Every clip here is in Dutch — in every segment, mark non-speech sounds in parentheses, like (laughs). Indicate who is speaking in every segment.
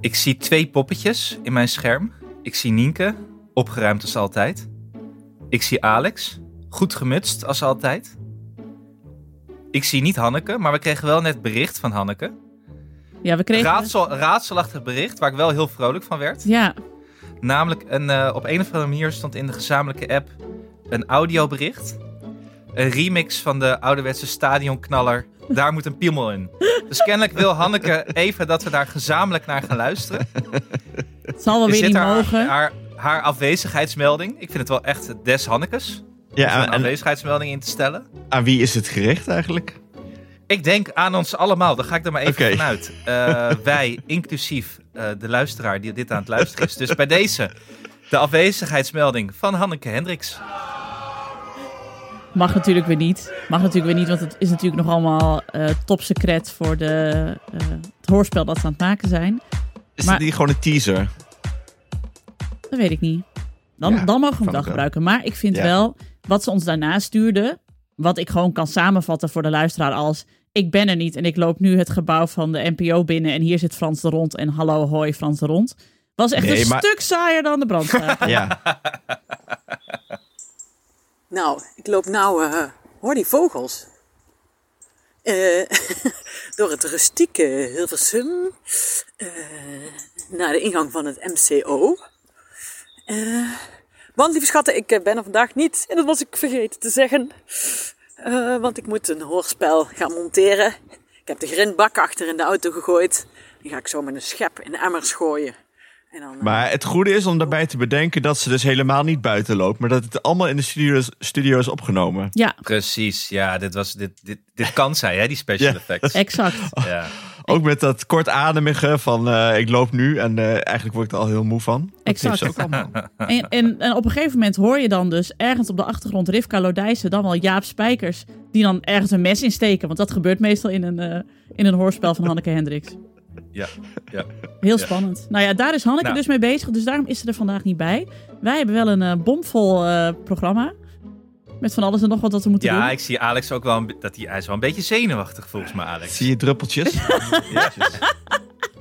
Speaker 1: Ik zie twee poppetjes in mijn scherm. Ik zie Nienke, opgeruimd als altijd. Ik zie Alex, goed gemutst als altijd. Ik zie niet Hanneke, maar we kregen wel net bericht van Hanneke.
Speaker 2: Ja, we kregen...
Speaker 1: Raadsel, raadselachtig bericht, waar ik wel heel vrolijk van werd.
Speaker 2: Ja,
Speaker 1: Namelijk, een, eh, op een of andere manier stond in de gezamenlijke app een audiobericht. Een remix van de ouderwetse stadionknaller. Daar moet een piemel in. Dus kennelijk wil Hanneke even dat we daar gezamenlijk naar gaan luisteren.
Speaker 2: het zal wel
Speaker 1: Is
Speaker 2: weer
Speaker 1: dit
Speaker 2: niet
Speaker 1: haar,
Speaker 2: mogen.
Speaker 1: haar, haar afwezigheidsmelding? Ik vind het wel echt des Hannekes. om
Speaker 3: Ja,
Speaker 1: Een
Speaker 3: en
Speaker 1: afwezigheidsmelding in te stellen.
Speaker 3: aan wie is het gericht eigenlijk?
Speaker 1: Ik denk aan ons allemaal, daar ga ik er maar even
Speaker 3: Oké.
Speaker 1: vanuit.
Speaker 3: (laughs)
Speaker 1: Eh, wij, inclusief eh, de luisteraar die dit aan het luisteren is. Dus bij deze, de afwezigheidsmelding van Hanneke Hendricks.
Speaker 2: Mag natuurlijk weer niet. Mag natuurlijk weer niet, want het is natuurlijk nog allemaal eh topsecret voor de, eh, het hoorspel dat ze aan het maken zijn.
Speaker 3: Is
Speaker 2: Maar-
Speaker 3: dit niet gewoon een
Speaker 2: (laughs)
Speaker 3: teaser?
Speaker 2: Dat weet ik niet. Dan,
Speaker 3: Ja,
Speaker 2: dan mogen we
Speaker 3: kan
Speaker 2: hem wel
Speaker 3: ook wel.
Speaker 2: gebruiken. Maar ik vind
Speaker 3: Ja.
Speaker 2: wel, wat ze ons daarna stuurden, wat ik gewoon kan samenvatten voor de luisteraar als... Ik ben er niet en ik loop nu het gebouw van de NPO binnen en hier zit Frans de Rond en hallo hoi Frans de Rond. Was echt
Speaker 3: Nee,
Speaker 2: een
Speaker 3: maar-
Speaker 2: stuk saaier dan de brandstapel.
Speaker 3: Ja.
Speaker 4: Nou, ik loop nou, eh, hoor die vogels. Eh, (laughs) door het rustieke Hilversum eh, naar de ingang van het MCO. Eh, want lieve schatten, ik eh, ben er vandaag niet en dat was ik vergeten te zeggen. Eh, want ik moet een hoorspel gaan monteren. Ik heb de grindbak achter in de auto gegooid. Die ga ik zo met een schep in emmers gooien. En dan, eh,
Speaker 3: Maar het goede is om daarbij te bedenken dat ze dus helemaal niet buiten loopt, maar dat het allemaal in de studio is, studio is opgenomen.
Speaker 2: ja,
Speaker 1: Precies, ja, dit, was, dit, dit, dit kan zij, hè, die special
Speaker 3: Ja. (laughs)
Speaker 1: effects.
Speaker 2: exact.
Speaker 1: Ja.
Speaker 3: Ook met dat kortademige van eh, ik loop nu en eh, eigenlijk word ik er al heel moe van. Dat
Speaker 2: Exact.
Speaker 3: heeft ze
Speaker 1: (laughs)
Speaker 3: ook allemaal.
Speaker 2: En, en, en op een gegeven moment hoor je dan dus ergens op de achtergrond Rivka Lodijsen, dan wel Jaap Spijkers, die dan ergens een mes insteken. Want dat gebeurt meestal in een, eh, in een hoorspel van Hanneke Hendricks.
Speaker 1: Ja, ja.
Speaker 2: Heel
Speaker 1: Ja.
Speaker 2: spannend. Nou ja, daar is Hanneke
Speaker 1: Nou.
Speaker 2: dus mee bezig, dus daarom is ze er vandaag niet bij. Wij hebben wel een eh, bomvol eh, programma. Met van alles en nog wat dat we moeten doen.
Speaker 1: ja, ik zie Alex ook wel, een, be- dat hij, hij is wel een beetje zenuwachtig volgens mij, Alex.
Speaker 3: (laughs) Zie je druppeltjes?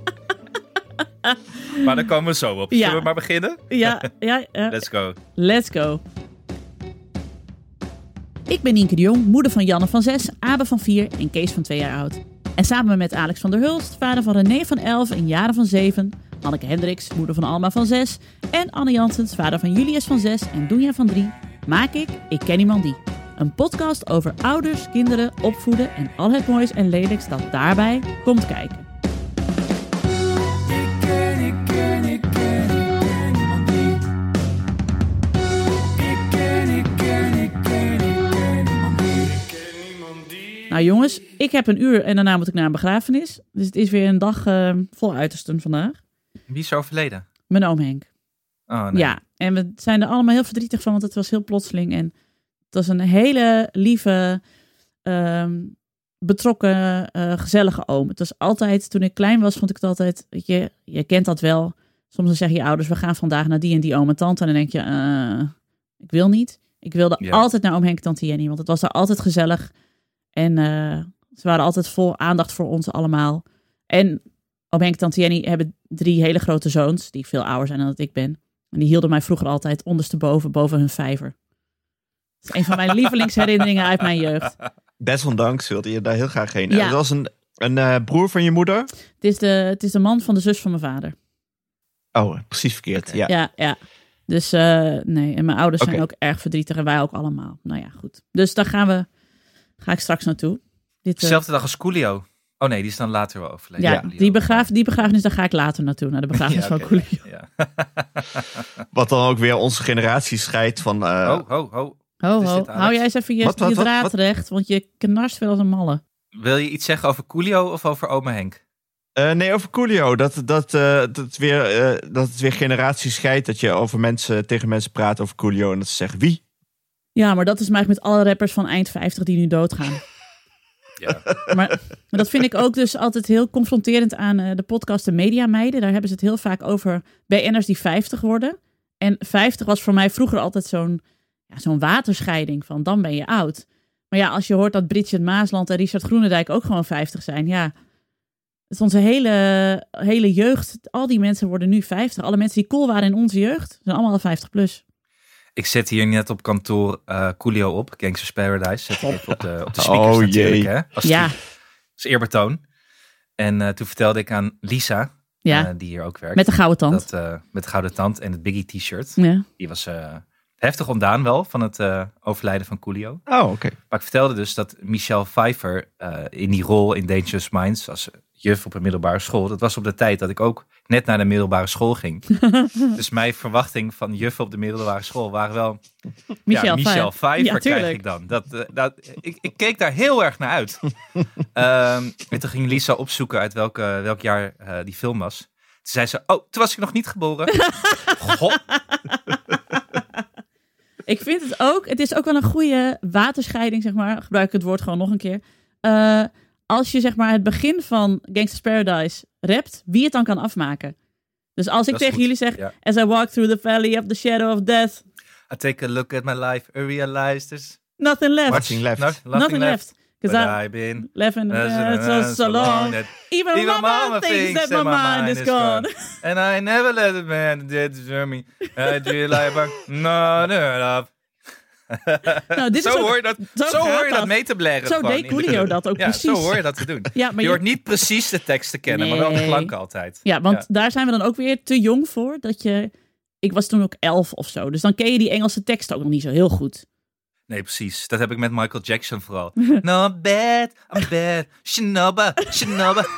Speaker 2: (laughs)
Speaker 1: Maar daar komen we zo op.
Speaker 2: Ja.
Speaker 1: Zullen we maar beginnen? (laughs)
Speaker 2: Ja, ja, ja.
Speaker 1: Let's go.
Speaker 2: Let's go. Ik ben Nienke de Jong, moeder van Janne van 6, Abe van 4 en Kees van 2 jaar oud. En samen met Alex van der Hulst, vader van René van 11 en Jaren van 7, Anneke Hendricks, moeder van Alma van 6 en Anne Janssens, vader van Julius van 6 en Doenja van 3, maak ik Ik Ken Iemand Die. Een podcast over ouders, kinderen, opvoeden en al het moois en lelijks dat daarbij komt kijken. Nou jongens, ik heb een uur en daarna moet ik naar een begrafenis. Dus het is weer een dag eh, vol uitersten vandaag.
Speaker 1: Wie is er overleden?
Speaker 2: Mijn oom Henk.
Speaker 1: Oh, nee.
Speaker 2: Ja, en we zijn er allemaal heel verdrietig van, want het was heel plotseling. En het was een hele lieve, ehm, betrokken, eh, gezellige oom. Het was altijd, toen ik klein was, vond ik het altijd, weet je, je kent dat wel. Soms dan zeggen je ouders, we gaan vandaag naar die en die oom en tante. En dan denk je, eh, ik wil niet. Ik wilde
Speaker 1: Ja.
Speaker 2: altijd naar oom Henk en tante Jenny, want het was daar altijd gezellig. En eh, ze waren altijd vol aandacht voor ons allemaal. En oom Henk en tante Jenny hebben drie hele grote zoons, die veel ouder zijn dan dat ik ben. En die hielden mij vroeger altijd ondersteboven, boven hun vijver. Dat is een van mijn lievelingsherinneringen uit mijn jeugd.
Speaker 3: Desondanks wilde je daar heel graag heen.
Speaker 2: Ja.
Speaker 3: Het was een, een eh, broer van je moeder?
Speaker 2: Het is, de, het is de man van de zus van mijn vader.
Speaker 3: Oh, precies verkeerd. Ja.
Speaker 2: Ja, ja. Dus eh, nee, en mijn ouders zijn
Speaker 3: Oké.
Speaker 2: ook erg verdrietig en wij ook allemaal. Nou ja, goed. Dus daar gaan we, ga ik straks naartoe. Dit, eh,
Speaker 1: Zelfde dag als Coolio. Oh nee, die is dan later wel overleden.
Speaker 2: ja,
Speaker 1: Coolio.
Speaker 2: Die, begraaf, die begrafenis, daar ga ik later naartoe,
Speaker 3: (laughs)
Speaker 2: naar de begrafenis
Speaker 1: Ja,
Speaker 2: van
Speaker 1: oké.
Speaker 2: Coolio.
Speaker 1: Ja.
Speaker 3: Wat dan ook weer onze generatie scheidt van... eh,
Speaker 1: Ho, ho, ho.
Speaker 2: Ho,
Speaker 1: Wat is
Speaker 2: ho,
Speaker 1: dit, Alex?
Speaker 2: hou jij eens even je,
Speaker 3: Wat, wat,
Speaker 2: je
Speaker 3: wat,
Speaker 2: draad
Speaker 3: wat?
Speaker 2: recht, want je knarst wel als een malle.
Speaker 1: Wil je iets zeggen over Coolio of over oma Henk?
Speaker 3: Eh, nee, over Coolio. Dat, dat, eh, dat, weer, eh, dat het weer generaties scheidt. Dat je over mensen, tegen mensen praat over Coolio. En dat ze zeggen wie?
Speaker 2: Ja, maar dat is mij met alle rappers van eind 50 die nu doodgaan.
Speaker 1: Ja.
Speaker 2: maar, maar dat vind ik ook dus altijd heel confronterend aan eh, de podcast De Media Meiden. Daar hebben ze het heel vaak over BN'ers die 50 worden. En 50 was voor mij vroeger altijd zo'n ja, zo'n waterscheiding van dan ben je oud. Maar ja, als je hoort dat Bridget Maasland en Richard Groenendijk ook gewoon 50 zijn, ja, Het is onze hele, hele jeugd. Al die mensen worden nu 50. Alle mensen die cool waren in onze jeugd zijn allemaal al 50 plus.
Speaker 1: Ik zet hier net op kantoor eh Coolio op, Gangsters Paradise. Zet ik even op de, op de
Speaker 3: Oh,
Speaker 1: speakers
Speaker 3: jee.
Speaker 1: natuurlijk, hè. Als,
Speaker 2: Ja,
Speaker 1: als eerbetoon. En eh, toen vertelde ik aan Lisa,
Speaker 2: ja.
Speaker 1: eh, die hier ook werkt.
Speaker 2: met de gouden tand.
Speaker 1: Dat, eh, met de gouden tand en het Biggie t-shirt.
Speaker 2: Ja.
Speaker 1: Die was eh, heftig ontdaan wel van het eh, overlijden van Coolio.
Speaker 3: Oh, oké.
Speaker 1: Maar ik vertelde dus dat Michelle Pfeiffer eh, in die rol in Dangerous Minds als juf op een middelbare school. Dat was op de tijd dat ik ook net naar de middelbare school ging.
Speaker 2: (laughs)
Speaker 1: dus mijn verwachting van juf op de middelbare school waren wel...
Speaker 2: Michel,
Speaker 1: ja, Michelle Pfeiffer
Speaker 2: Ja,
Speaker 1: krijg
Speaker 2: tuurlijk.
Speaker 1: ik dan. Dat, eh, dat, ik, ik keek daar heel erg naar
Speaker 2: (laughs)
Speaker 1: uit. Ehm, en toen ging Lisa opzoeken uit welke, welk jaar eh, die film was. Toen zei ze, oh, toen was ik nog niet geboren.
Speaker 2: (laughs)
Speaker 1: Goh,
Speaker 2: Ik vind het ook. Het is ook wel een goede waterscheiding, zeg maar. Gebruik ik het woord gewoon nog een keer. Eh, als je zeg maar het begin van Gangsters Paradise rapt, wie het dan kan afmaken. Dus als ik
Speaker 1: is
Speaker 2: tegen
Speaker 1: goed.
Speaker 2: jullie zeg,
Speaker 1: Ja.
Speaker 2: as I walk through the valley of the shadow of death,
Speaker 1: I take a look at my life and realize there's
Speaker 2: nothing left.
Speaker 3: Watching left.
Speaker 1: no- nothing,
Speaker 2: nothing left. Because
Speaker 1: But
Speaker 2: I
Speaker 1: I've been...
Speaker 2: left in
Speaker 1: uh,
Speaker 2: the so, so long.
Speaker 1: that-
Speaker 2: Even,
Speaker 1: Even
Speaker 2: mama thinks that my mind is gone.
Speaker 1: And I never let a man determine me. I dream like
Speaker 2: (laughs)
Speaker 1: a none of.
Speaker 2: (laughs) Nou, dit is
Speaker 1: Zo
Speaker 2: ook-
Speaker 1: hoor je dat,
Speaker 2: zo
Speaker 1: zo hoor je
Speaker 2: gaat
Speaker 1: dat
Speaker 2: dat.
Speaker 1: mee te blaren.
Speaker 2: Zo
Speaker 1: gewoon
Speaker 2: deed
Speaker 1: in de
Speaker 2: Coolio
Speaker 1: club.
Speaker 2: dat ook
Speaker 1: ja, Zo
Speaker 2: precies.
Speaker 1: hoor je dat te doen.
Speaker 2: Ja, (laughs) maar
Speaker 1: je
Speaker 2: je-
Speaker 1: hoort niet precies de tekst te kennen, maar wel de
Speaker 2: Nee.
Speaker 1: klanken altijd.
Speaker 2: Ja, want daar zijn we dan ook weer te jong voor. Dat je... Ik was toen ook elf of zo. Dus dan ken je die Engelse tekst ook nog niet zo heel goed.
Speaker 1: Nee, precies. Dat heb ik met Michael Jackson
Speaker 2: (laughs)
Speaker 1: vooral. no, I'm bad, I'm bad. Shinoba, shinoba.
Speaker 2: (laughs)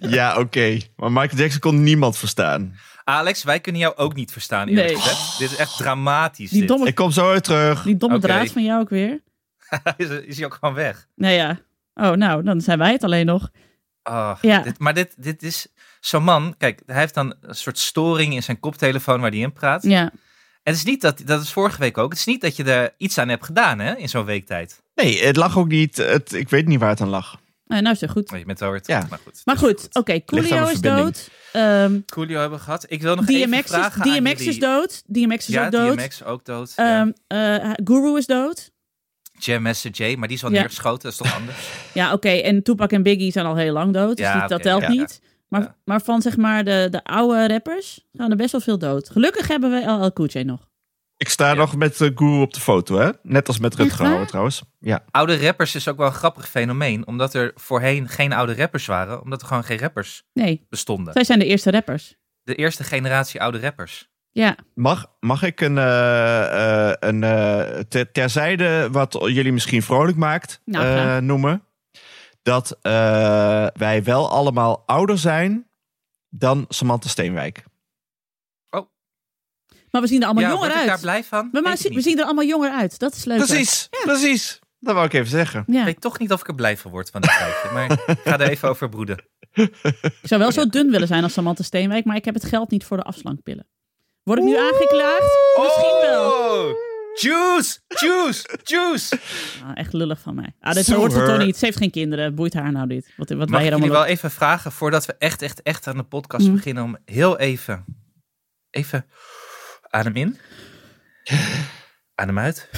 Speaker 3: Ja, oké. Maar Michael Jackson kon niemand verstaan.
Speaker 1: Alex, wij kunnen jou ook niet verstaan eerlijk
Speaker 2: Nee.
Speaker 1: gezegd. Dit is echt dramatisch.
Speaker 2: Die
Speaker 1: dit.
Speaker 2: domme,
Speaker 3: Ik kom zo weer terug.
Speaker 2: die domme
Speaker 1: Oké.
Speaker 2: draad van jou ook weer.
Speaker 1: (laughs) is, is hij ook gewoon weg.
Speaker 2: Nou ja. Oh, nou, dan zijn wij het alleen nog.
Speaker 1: Ach,
Speaker 2: Ja.
Speaker 1: dit- maar dit, dit is zo'n man. Kijk, hij heeft dan een soort storing in zijn koptelefoon waar hij in praat.
Speaker 2: Ja.
Speaker 1: En het is niet dat, dat is vorige week ook. Het is niet dat je er iets aan hebt gedaan hè, in zo'n weektijd.
Speaker 3: Nee, het lag ook niet. Het, ik weet niet waar het aan lag.
Speaker 2: Nou, nou is het goed.
Speaker 1: Maar Oh, je bent wel weer
Speaker 3: Ja.
Speaker 1: terug. Maar goed.
Speaker 2: Maar goed, oké.
Speaker 3: Ligt
Speaker 2: Coolio
Speaker 3: aan de
Speaker 2: is
Speaker 3: verbinding.
Speaker 2: dood. Ehm,
Speaker 1: Coolio hebben we gehad. Ik wil nog even
Speaker 2: DMX, is,
Speaker 1: vragen aan
Speaker 2: DMX
Speaker 1: jullie.
Speaker 2: is dood. DMX is
Speaker 1: Ja,
Speaker 2: ook dood.
Speaker 1: DMX ook dood. ja.
Speaker 2: Ehm, eh, Guru is dood.
Speaker 1: Jam Master J, maar die is al
Speaker 2: Ja.
Speaker 1: neergeschoten. Dat is toch anders? (laughs)
Speaker 2: Ja, oké. En Tupac en Biggie zijn al heel lang dood. Dus
Speaker 1: Ja,
Speaker 2: die- dat
Speaker 1: oké,
Speaker 2: telt
Speaker 1: ja,
Speaker 2: niet. Maar,
Speaker 1: ja.
Speaker 2: maar van zeg maar de, de oude rappers gaan er best wel veel dood. Gelukkig hebben we LL Cool J nog.
Speaker 3: Ik sta nog met uh, Guru op de foto, hè? Net als met Rutger
Speaker 2: waar?
Speaker 3: Hauer trouwens. Ja.
Speaker 1: oude rappers is ook wel een grappig fenomeen. Omdat er voorheen geen oude rappers waren. Omdat er gewoon geen rappers
Speaker 2: Nee,
Speaker 1: bestonden.
Speaker 2: zij zijn de eerste rappers.
Speaker 1: De eerste generatie oude rappers.
Speaker 2: Ja,
Speaker 3: Mag, mag ik een, eh, eh, een eh, ter- terzijde wat jullie misschien vrolijk maakt
Speaker 2: Nou,
Speaker 3: eh,
Speaker 2: graag.
Speaker 3: noemen? Dat eh, wij wel allemaal ouder zijn dan Samantha Steenwijk.
Speaker 2: maar we zien er allemaal
Speaker 1: ja,
Speaker 2: jonger
Speaker 1: word ik
Speaker 2: uit.
Speaker 1: daar blij van?
Speaker 2: We, maar
Speaker 1: Weet ik
Speaker 2: zi- we
Speaker 1: niet.
Speaker 2: zien er allemaal jonger uit. Dat is leuk.
Speaker 3: Precies, precies. Dat wou ik even zeggen.
Speaker 1: Ik
Speaker 2: Ja.
Speaker 1: weet toch niet of ik er blij van word van dit tijdje. Maar ik ga er even over broeden.
Speaker 2: Ik zou wel zo dun willen zijn als Samantha Steenwijk, maar ik heb het geld niet voor de afslankpillen. Word ik nu aangeklaagd? Misschien wel.
Speaker 1: Oh, Juice, juice, juice.
Speaker 2: Ah, echt lullig van mij. Ah, dit
Speaker 3: Sue
Speaker 2: hoort ze
Speaker 3: her.
Speaker 2: toch niet. Ze heeft geen kinderen. Boeit haar nou dit? Wat,
Speaker 1: Mag
Speaker 2: wat wij
Speaker 1: ik
Speaker 2: hier
Speaker 1: jullie
Speaker 2: allemaal...
Speaker 1: wel even vragen, voordat we echt, echt, echt aan de podcast
Speaker 2: Mm.
Speaker 1: beginnen, om heel even, even adem in, adem uit,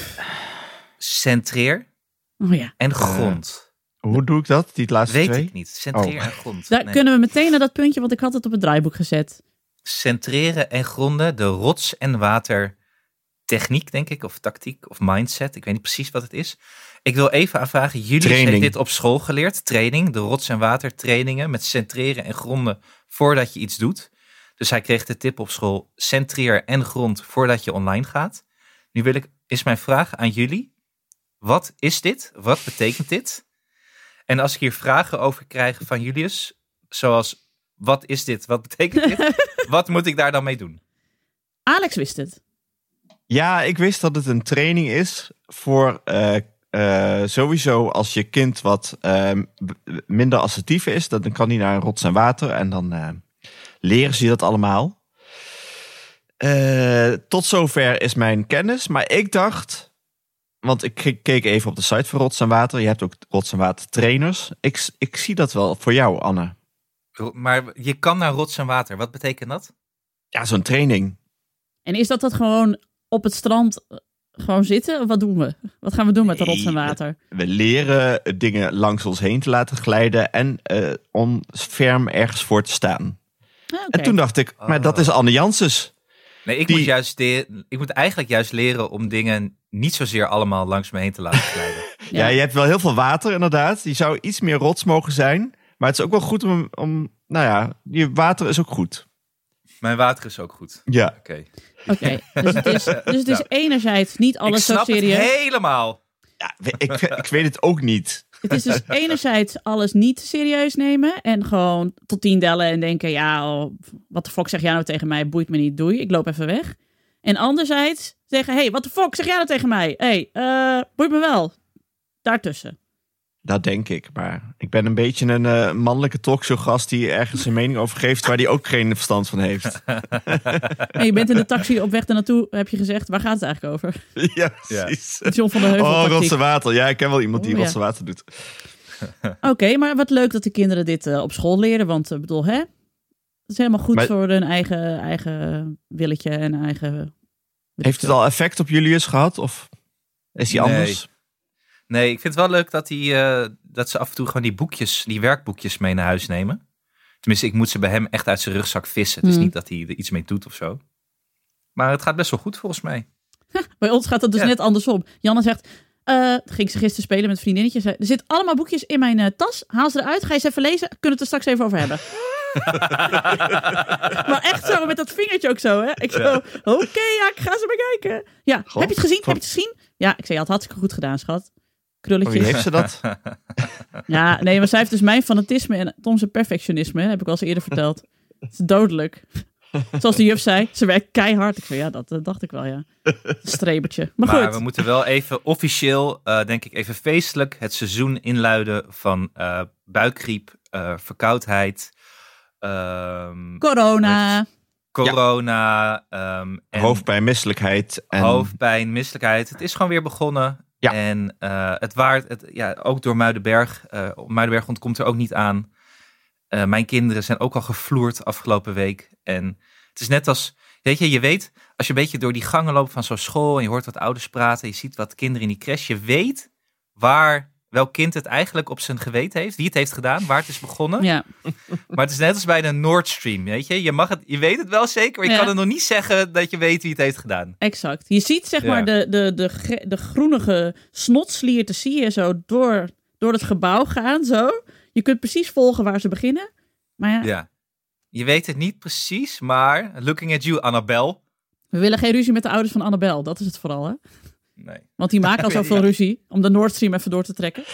Speaker 1: centreer
Speaker 2: Oh ja.
Speaker 1: en grond.
Speaker 3: Hoe doe ik dat, die Eh, laatste
Speaker 1: Weet
Speaker 3: twee?
Speaker 1: ik niet. Centreer
Speaker 3: Oh.
Speaker 1: en grond.
Speaker 2: Daar
Speaker 1: Nee.
Speaker 2: Nou, kunnen we meteen naar dat puntje, want ik had het op het draaiboek gezet.
Speaker 1: centreren en gronden, de rots- en watertechniek, denk ik, of tactiek of mindset. Ik weet niet precies wat het is. Ik wil even aanvragen, jullie hebben
Speaker 3: Training.
Speaker 1: dit op school geleerd, training, de rots- en watertrainingen met centreren en gronden voordat je iets doet. Dus hij kreeg de tip op school, centreer en grond voordat je online gaat. Nu wil ik, is mijn vraag aan jullie, wat is dit? Wat betekent dit? En als ik hier vragen over krijg van Julius, zoals wat is dit? Wat betekent dit? Wat moet ik daar dan mee doen?
Speaker 2: Alex wist het.
Speaker 3: Ja, ik wist dat het een training is voor eh, eh, sowieso als je kind wat eh, b- minder assertief is, dat- dan kan hij naar rots en water en dan eh, leren ze je dat allemaal. Eh, tot zover is mijn kennis, maar ik dacht, want ik ke- keek even op de site van Rots en Water. Je hebt ook Rots en Water trainers. Ik, s- ik zie dat wel voor jou, Anne.
Speaker 1: Ro- Maar je kan naar rots en water. Wat betekent dat?
Speaker 3: Ja, zo'n training.
Speaker 2: En is dat dat gewoon op het strand eh, Gewoon zitten? Wat doen we? Wat gaan we doen met de rots en
Speaker 3: Nee,
Speaker 2: water?
Speaker 3: We leren dingen langs ons heen te laten glijden en eh ons ferm ergens voor te staan.
Speaker 2: Ah,
Speaker 3: En
Speaker 2: oké.
Speaker 3: toen dacht ik, maar dat is Anne Janssens.
Speaker 1: Nee, ik,
Speaker 3: Die-
Speaker 1: moet juist de- ik moet eigenlijk juist leren om dingen niet zozeer allemaal langs me heen te laten glijden.
Speaker 3: Ja. je hebt wel heel veel water inderdaad. Die zou iets meer rots mogen zijn. Maar het is ook wel goed om, om nou ja, je water is ook goed.
Speaker 1: Mijn water is ook goed.
Speaker 3: Ja.
Speaker 1: Oké.
Speaker 2: Oké, dus het
Speaker 1: (laughs)
Speaker 2: is, dus het is
Speaker 1: Nou.
Speaker 2: enerzijds niet
Speaker 1: Ik
Speaker 2: alles zo
Speaker 1: snap het
Speaker 2: serieus.
Speaker 1: helemaal.
Speaker 3: Ja, we- ik, (laughs) ik weet het ook niet.
Speaker 2: Het is dus enerzijds alles niet serieus nemen en gewoon tot tien tellen en denken, ja, oh, wat de fuck zeg jij nou tegen mij? Boeit me niet, doei, ik loop even weg. En anderzijds zeggen, hey, wat de fuck zeg jij nou tegen mij? hey, eh, boeit me wel. Daartussen.
Speaker 3: Dat denk ik. Maar ik ben een beetje een eh, mannelijke talkshowgast die ergens een mening over geeft waar die ook geen verstand van heeft.
Speaker 2: En je bent in de taxi op weg naartoe, heb je gezegd, waar gaat het eigenlijk over?
Speaker 3: (laughs)
Speaker 2: (laughs)
Speaker 3: ja, precies.
Speaker 2: John van der Heuvel
Speaker 3: Oh,
Speaker 2: tactiek.
Speaker 3: rotse water. Ja, ik ken wel iemand die
Speaker 2: Oh, ja.
Speaker 3: rotse water doet.
Speaker 2: Oké, maar wat leuk dat de kinderen dit eh, op school leren. Want ik bedoel, hè? Het is helemaal goed
Speaker 3: Maar-
Speaker 2: voor hun eigen, eigen willetje en eigen.
Speaker 3: Heeft het al effect op Julius gehad? Of is hij
Speaker 1: Nee.
Speaker 3: anders?
Speaker 1: Nee, ik vind het wel leuk dat, die, eh, dat ze af en toe gewoon die boekjes, die werkboekjes mee naar huis nemen. Tenminste, ik moet ze bij hem echt uit zijn rugzak vissen. Het is
Speaker 2: Hmm.
Speaker 1: niet dat hij er iets mee doet of zo. Maar het gaat best wel goed volgens mij.
Speaker 2: Bij ons gaat dat dus
Speaker 1: Ja.
Speaker 2: net andersom. Janne zegt. eh, ging ze gisteren spelen met vriendinnetjes. Er zitten allemaal boekjes in mijn eh, tas. Haal ze eruit. Ga je ze even lezen. Kunnen we het er straks even over
Speaker 3: (laughs)
Speaker 2: hebben. maar echt zo, met dat vingertje ook zo. Hè? Ik zo, oké, ja, ik ga ze bekijken. Ja,
Speaker 3: Goh,
Speaker 2: heb je het gezien?
Speaker 3: van-
Speaker 2: Heb je het gezien? Ja, ik zei, ja, het hartstikke goed gedaan, schat.
Speaker 3: Van Wie
Speaker 2: Krulletjes.
Speaker 3: heeft ze
Speaker 1: (laughs)
Speaker 3: dat?
Speaker 2: Ja, nee, maar zij heeft dus mijn fanatisme en Tom zijn perfectionisme. Heb ik al eens eerder verteld. Het is dodelijk. Zoals de juf zei, ze werkt keihard. Ik zei, ja, dat, eh, dacht ik wel, ja. Strebertje. Maar,
Speaker 1: Maar
Speaker 2: goed,
Speaker 1: we moeten wel even officieel, eh, denk ik, even feestelijk het seizoen inluiden van eh, buikgriep, eh, verkoudheid, ehm,
Speaker 2: corona.
Speaker 1: corona, ehm, en
Speaker 3: Hoofdpijn, misselijkheid. En...
Speaker 1: hoofdpijn, misselijkheid. Het is gewoon weer begonnen.
Speaker 3: Ja.
Speaker 1: En eh, het waard, het, ja, ook door Muidenberg. Eh, Muidenberg ontkomt er ook niet aan. Eh, mijn kinderen zijn ook al gevloerd afgelopen week. En het is net als, weet je, je weet, als je een beetje door die gangen loopt van zo'n school en je hoort wat ouders praten, je ziet wat kinderen in die crash, je weet waar welk kind het eigenlijk op zijn geweten heeft, wie het heeft gedaan, waar het is begonnen.
Speaker 2: Ja,
Speaker 1: Maar het is net als bij de Nord Stream, weet je. Je, mag het, je weet het wel zeker, maar je
Speaker 2: Ja.
Speaker 1: kan het nog niet zeggen dat je weet wie het heeft gedaan.
Speaker 2: exact. Je ziet zeg
Speaker 1: Ja.
Speaker 2: maar de, de, de, gre- de groenige snotslier zie je zo door, door het gebouw gaan. Zo. Je kunt precies volgen waar ze beginnen. Maar ja,
Speaker 1: Ja. Je weet het niet precies, maar looking at you, Annabel.
Speaker 2: we willen geen ruzie met de ouders van Annabel. Dat is het vooral, hè.
Speaker 1: Nee.
Speaker 2: Want die
Speaker 1: (laughs)
Speaker 2: maken al zoveel ruzie om de Nord Stream even door te trekken.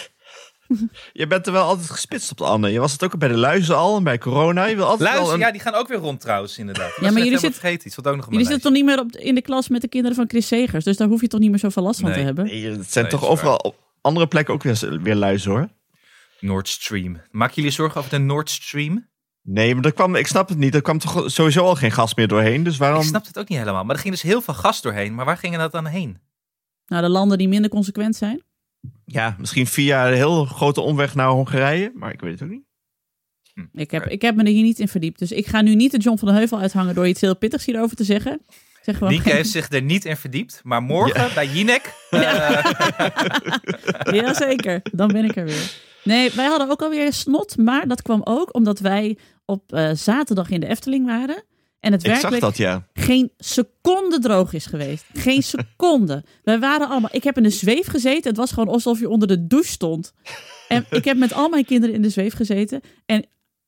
Speaker 3: Je bent er wel altijd gespitst op de Anne. Je was het ook bij de luizen al en bij corona. Je wil altijd wel
Speaker 1: Luister,
Speaker 3: een...
Speaker 1: ja, die gaan ook weer rond trouwens, inderdaad. Ja,
Speaker 2: maar jullie zitten-
Speaker 1: vergeten iets, wat ook nog op
Speaker 2: Jullie
Speaker 1: mijn
Speaker 2: zitten toch niet meer op, in de klas met de kinderen van Chris Segers. Dus daar hoef je toch niet meer zoveel last van te
Speaker 1: Nee.
Speaker 2: hebben.
Speaker 3: Nee, het zijn
Speaker 1: Nee,
Speaker 3: toch
Speaker 1: is waar.
Speaker 3: overal op andere plekken ook weer, weer luizen hoor.
Speaker 1: lijstje. Nord Stream. Maken jullie zorgen over de Nord Stream?
Speaker 3: Nee, maar dat kwam, ik snap het niet. Er kwam toch sowieso al geen gas meer doorheen. Dus waarom...
Speaker 2: Ehm,
Speaker 1: Ik snap het ook niet helemaal. Maar er ging dus heel veel gas doorheen. Maar waar ging dat dan heen?
Speaker 2: Nou, de landen die minder consequent zijn.
Speaker 3: Ja, misschien via een heel grote omweg naar Hongarije. Maar ik weet het ook niet.
Speaker 2: Ik heb, ik heb me er hier niet in verdiept. Dus ik ga nu niet de John van den Heuvel uithangen door iets heel pittigs hierover te zeggen. Ik Zeg gewoon,
Speaker 1: Nienke
Speaker 2: (laughs)
Speaker 1: heeft zich er niet in verdiept. Maar morgen bij Jinek. eh,
Speaker 2: Jazeker, dan ben ik er weer. Nee, wij hadden ook alweer snot. Maar dat kwam ook omdat wij op eh, zaterdag in de Efteling waren. En het
Speaker 3: Ik zag
Speaker 2: werkelijk
Speaker 3: dat, ja.
Speaker 2: geen seconde droog is geweest. Geen seconde. Wij waren allemaal... Ik heb in de zweef gezeten. Het was gewoon alsof je onder de douche stond. En ik heb met al mijn kinderen in de zweef gezeten. En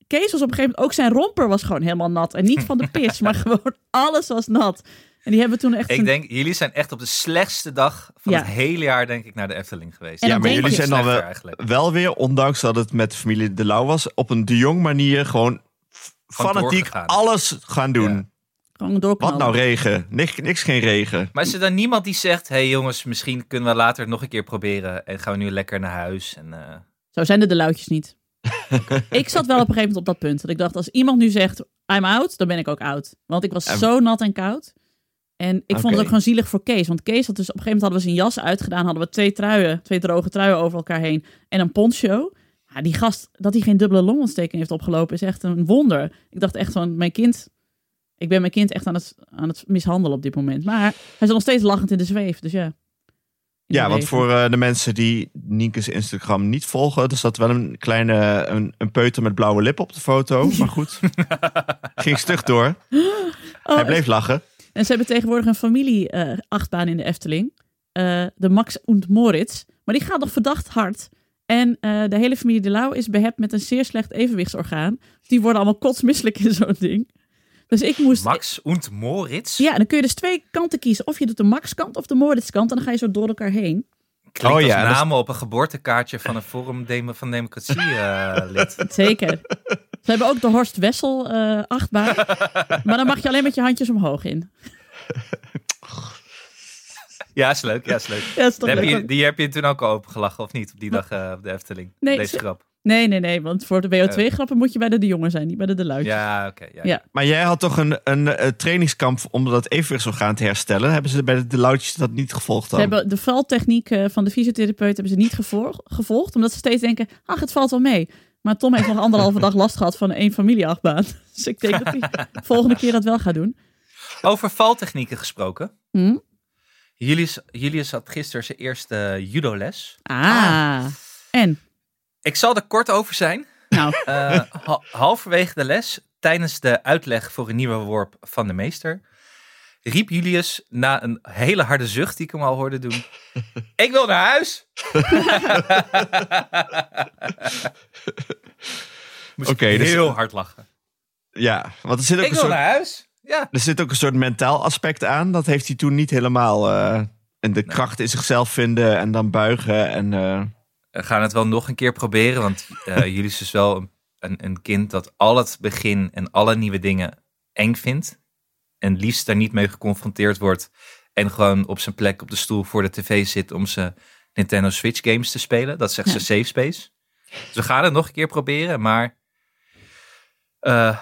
Speaker 2: Kees was op een gegeven moment... Ook zijn romper was gewoon helemaal nat. En niet van de pis, maar gewoon alles was nat. En die hebben toen echt...
Speaker 1: ik
Speaker 2: een-
Speaker 1: denk, jullie zijn echt op de slechtste dag van
Speaker 2: Ja.
Speaker 1: het hele jaar, denk ik, naar de Efteling geweest.
Speaker 2: En
Speaker 3: Ja,
Speaker 2: dan
Speaker 3: maar
Speaker 2: denk
Speaker 3: jullie
Speaker 2: je-
Speaker 3: zijn dan
Speaker 1: Slechter
Speaker 3: wel,
Speaker 1: eigenlijk.
Speaker 3: wel weer, ondanks dat het met familie De Lauw was, op een de Jong manier gewoon f-
Speaker 1: Gewoon
Speaker 3: fanatiek
Speaker 1: doorgegaan.
Speaker 3: alles gaan doen.
Speaker 1: Ja.
Speaker 2: Gewoon doorknallen.
Speaker 3: Wat nou regen? Niks, niks geen regen.
Speaker 1: Maar is er dan niemand die zegt: hé hey jongens, misschien kunnen we later nog een keer proberen. En gaan we nu lekker naar huis? En, eh,
Speaker 2: Zo zijn er de luidjes
Speaker 3: (laughs)
Speaker 2: niet. ik zat wel op een gegeven moment op dat punt. Dat ik dacht, als iemand nu zegt, I'm out, dan ben ik ook out. Want ik was
Speaker 3: En-
Speaker 2: zo nat en koud. En ik vond
Speaker 3: Oké.
Speaker 2: het ook gewoon zielig voor Kees. Want Kees had dus op een gegeven moment hadden we zijn jas uitgedaan. Hadden we twee truien, twee droge truien over elkaar heen. En een poncho. Ja, die gast, dat hij geen dubbele longontsteking heeft opgelopen, is echt een wonder. Ik dacht echt van, mijn kind... Ik ben mijn kind echt aan het, aan het mishandelen op dit moment. Maar hij is nog steeds lachend in de zweef. Dus ja,
Speaker 3: Ja,
Speaker 2: hun
Speaker 3: want
Speaker 2: leven.
Speaker 3: voor eh, de mensen die Nieke's Instagram niet volgen, er zat wel een kleine een, een peuter met blauwe lippen op de foto. Maar goed, ging stug door.
Speaker 2: Oh,
Speaker 3: Hij bleef lachen.
Speaker 2: En ze hebben tegenwoordig een familie-achtbaan in de Efteling. Eh, de Max und Moritz. Maar die gaat nog verdacht hard. En eh, de hele familie De Lauw is behept met een zeer slecht evenwichtsorgaan. Dus Die worden allemaal kotsmisselijk in zo'n ding. Dus ik moest...
Speaker 1: Max und Moritz?
Speaker 2: Ja, en dan kun je dus twee kanten kiezen. Of je doet de Max-kant of de Moritz-kant. En dan ga je zo door elkaar heen.
Speaker 1: Klinkt
Speaker 3: Oh
Speaker 1: als
Speaker 3: ja, dat is-
Speaker 1: namen op een geboortekaartje van een Forum Demo- van Democratie eh,
Speaker 2: (laughs)
Speaker 1: lid.
Speaker 2: Zeker. Ze hebben ook de Horst Wessel eh, achtbaan. Maar dan mag je alleen met je handjes omhoog in.
Speaker 1: Ja, is leuk. Ja, is leuk.
Speaker 2: Ja, dat is toch
Speaker 1: Die heb,
Speaker 2: leuk
Speaker 1: je,
Speaker 2: ook.
Speaker 1: die heb je toen ook al opengelachen, of niet? Op die dag eh, op de Efteling.
Speaker 2: Nee,
Speaker 1: Deze
Speaker 2: ze-
Speaker 1: grap.
Speaker 2: Nee, nee, nee. Want voor de WO2-grappen moet je bij de de jongen zijn. Niet bij de de luidjes.
Speaker 1: Ja, oké. ja.
Speaker 2: Ja.
Speaker 3: Maar jij had toch een, een, eh, trainingskamp om dat evenwichtsorgaan te herstellen? Hebben ze bij de, de loutjes dat niet gevolgd dan?
Speaker 2: Ze hebben de valtechniek eh, van de fysiotherapeut hebben ze niet gevolg- gevolgd, omdat ze steeds denken, ach, het valt wel mee. Maar Tom heeft nog anderhalve dag last gehad van één familieachtbaan. (laughs) Dus ik denk dat hij
Speaker 3: (laughs)
Speaker 2: volgende keer dat wel gaat doen.
Speaker 1: Over valtechnieken gesproken.
Speaker 2: Hm?
Speaker 1: Julius, Julius had gisteren zijn eerste judoles.
Speaker 2: Ah. En?
Speaker 1: Ik zal er kort over zijn.
Speaker 2: Nou,
Speaker 1: Eh, ha- halverwege de les, tijdens de uitleg voor een nieuwe worp van de meester, riep Julius na een hele harde zucht die ik hem al hoorde
Speaker 3: (laughs)
Speaker 1: doen: Ik wil naar huis! Moest
Speaker 3: Oké,
Speaker 1: ik
Speaker 3: dus-
Speaker 1: heel hard lachen.
Speaker 3: Ja, want er zit ook
Speaker 1: Ik
Speaker 3: een
Speaker 1: wil
Speaker 3: soort...
Speaker 1: naar huis! Ja.
Speaker 3: Er zit ook een soort mentaal aspect aan. Dat heeft hij toen niet helemaal. eh, en de kracht in zichzelf vinden en dan buigen. En, eh,
Speaker 1: We gaan het wel nog een keer proberen, want eh,
Speaker 2: (laughs)
Speaker 1: Julius is wel een, een, een kind dat al het begin en alle nieuwe dingen eng vindt. En liefst daar niet mee geconfronteerd wordt. En gewoon op zijn plek op de stoel voor de tv zit om zijn Nintendo Switch games te spelen. Dat zegt ze safe space. Dus we gaan het nog een keer proberen, maar eh,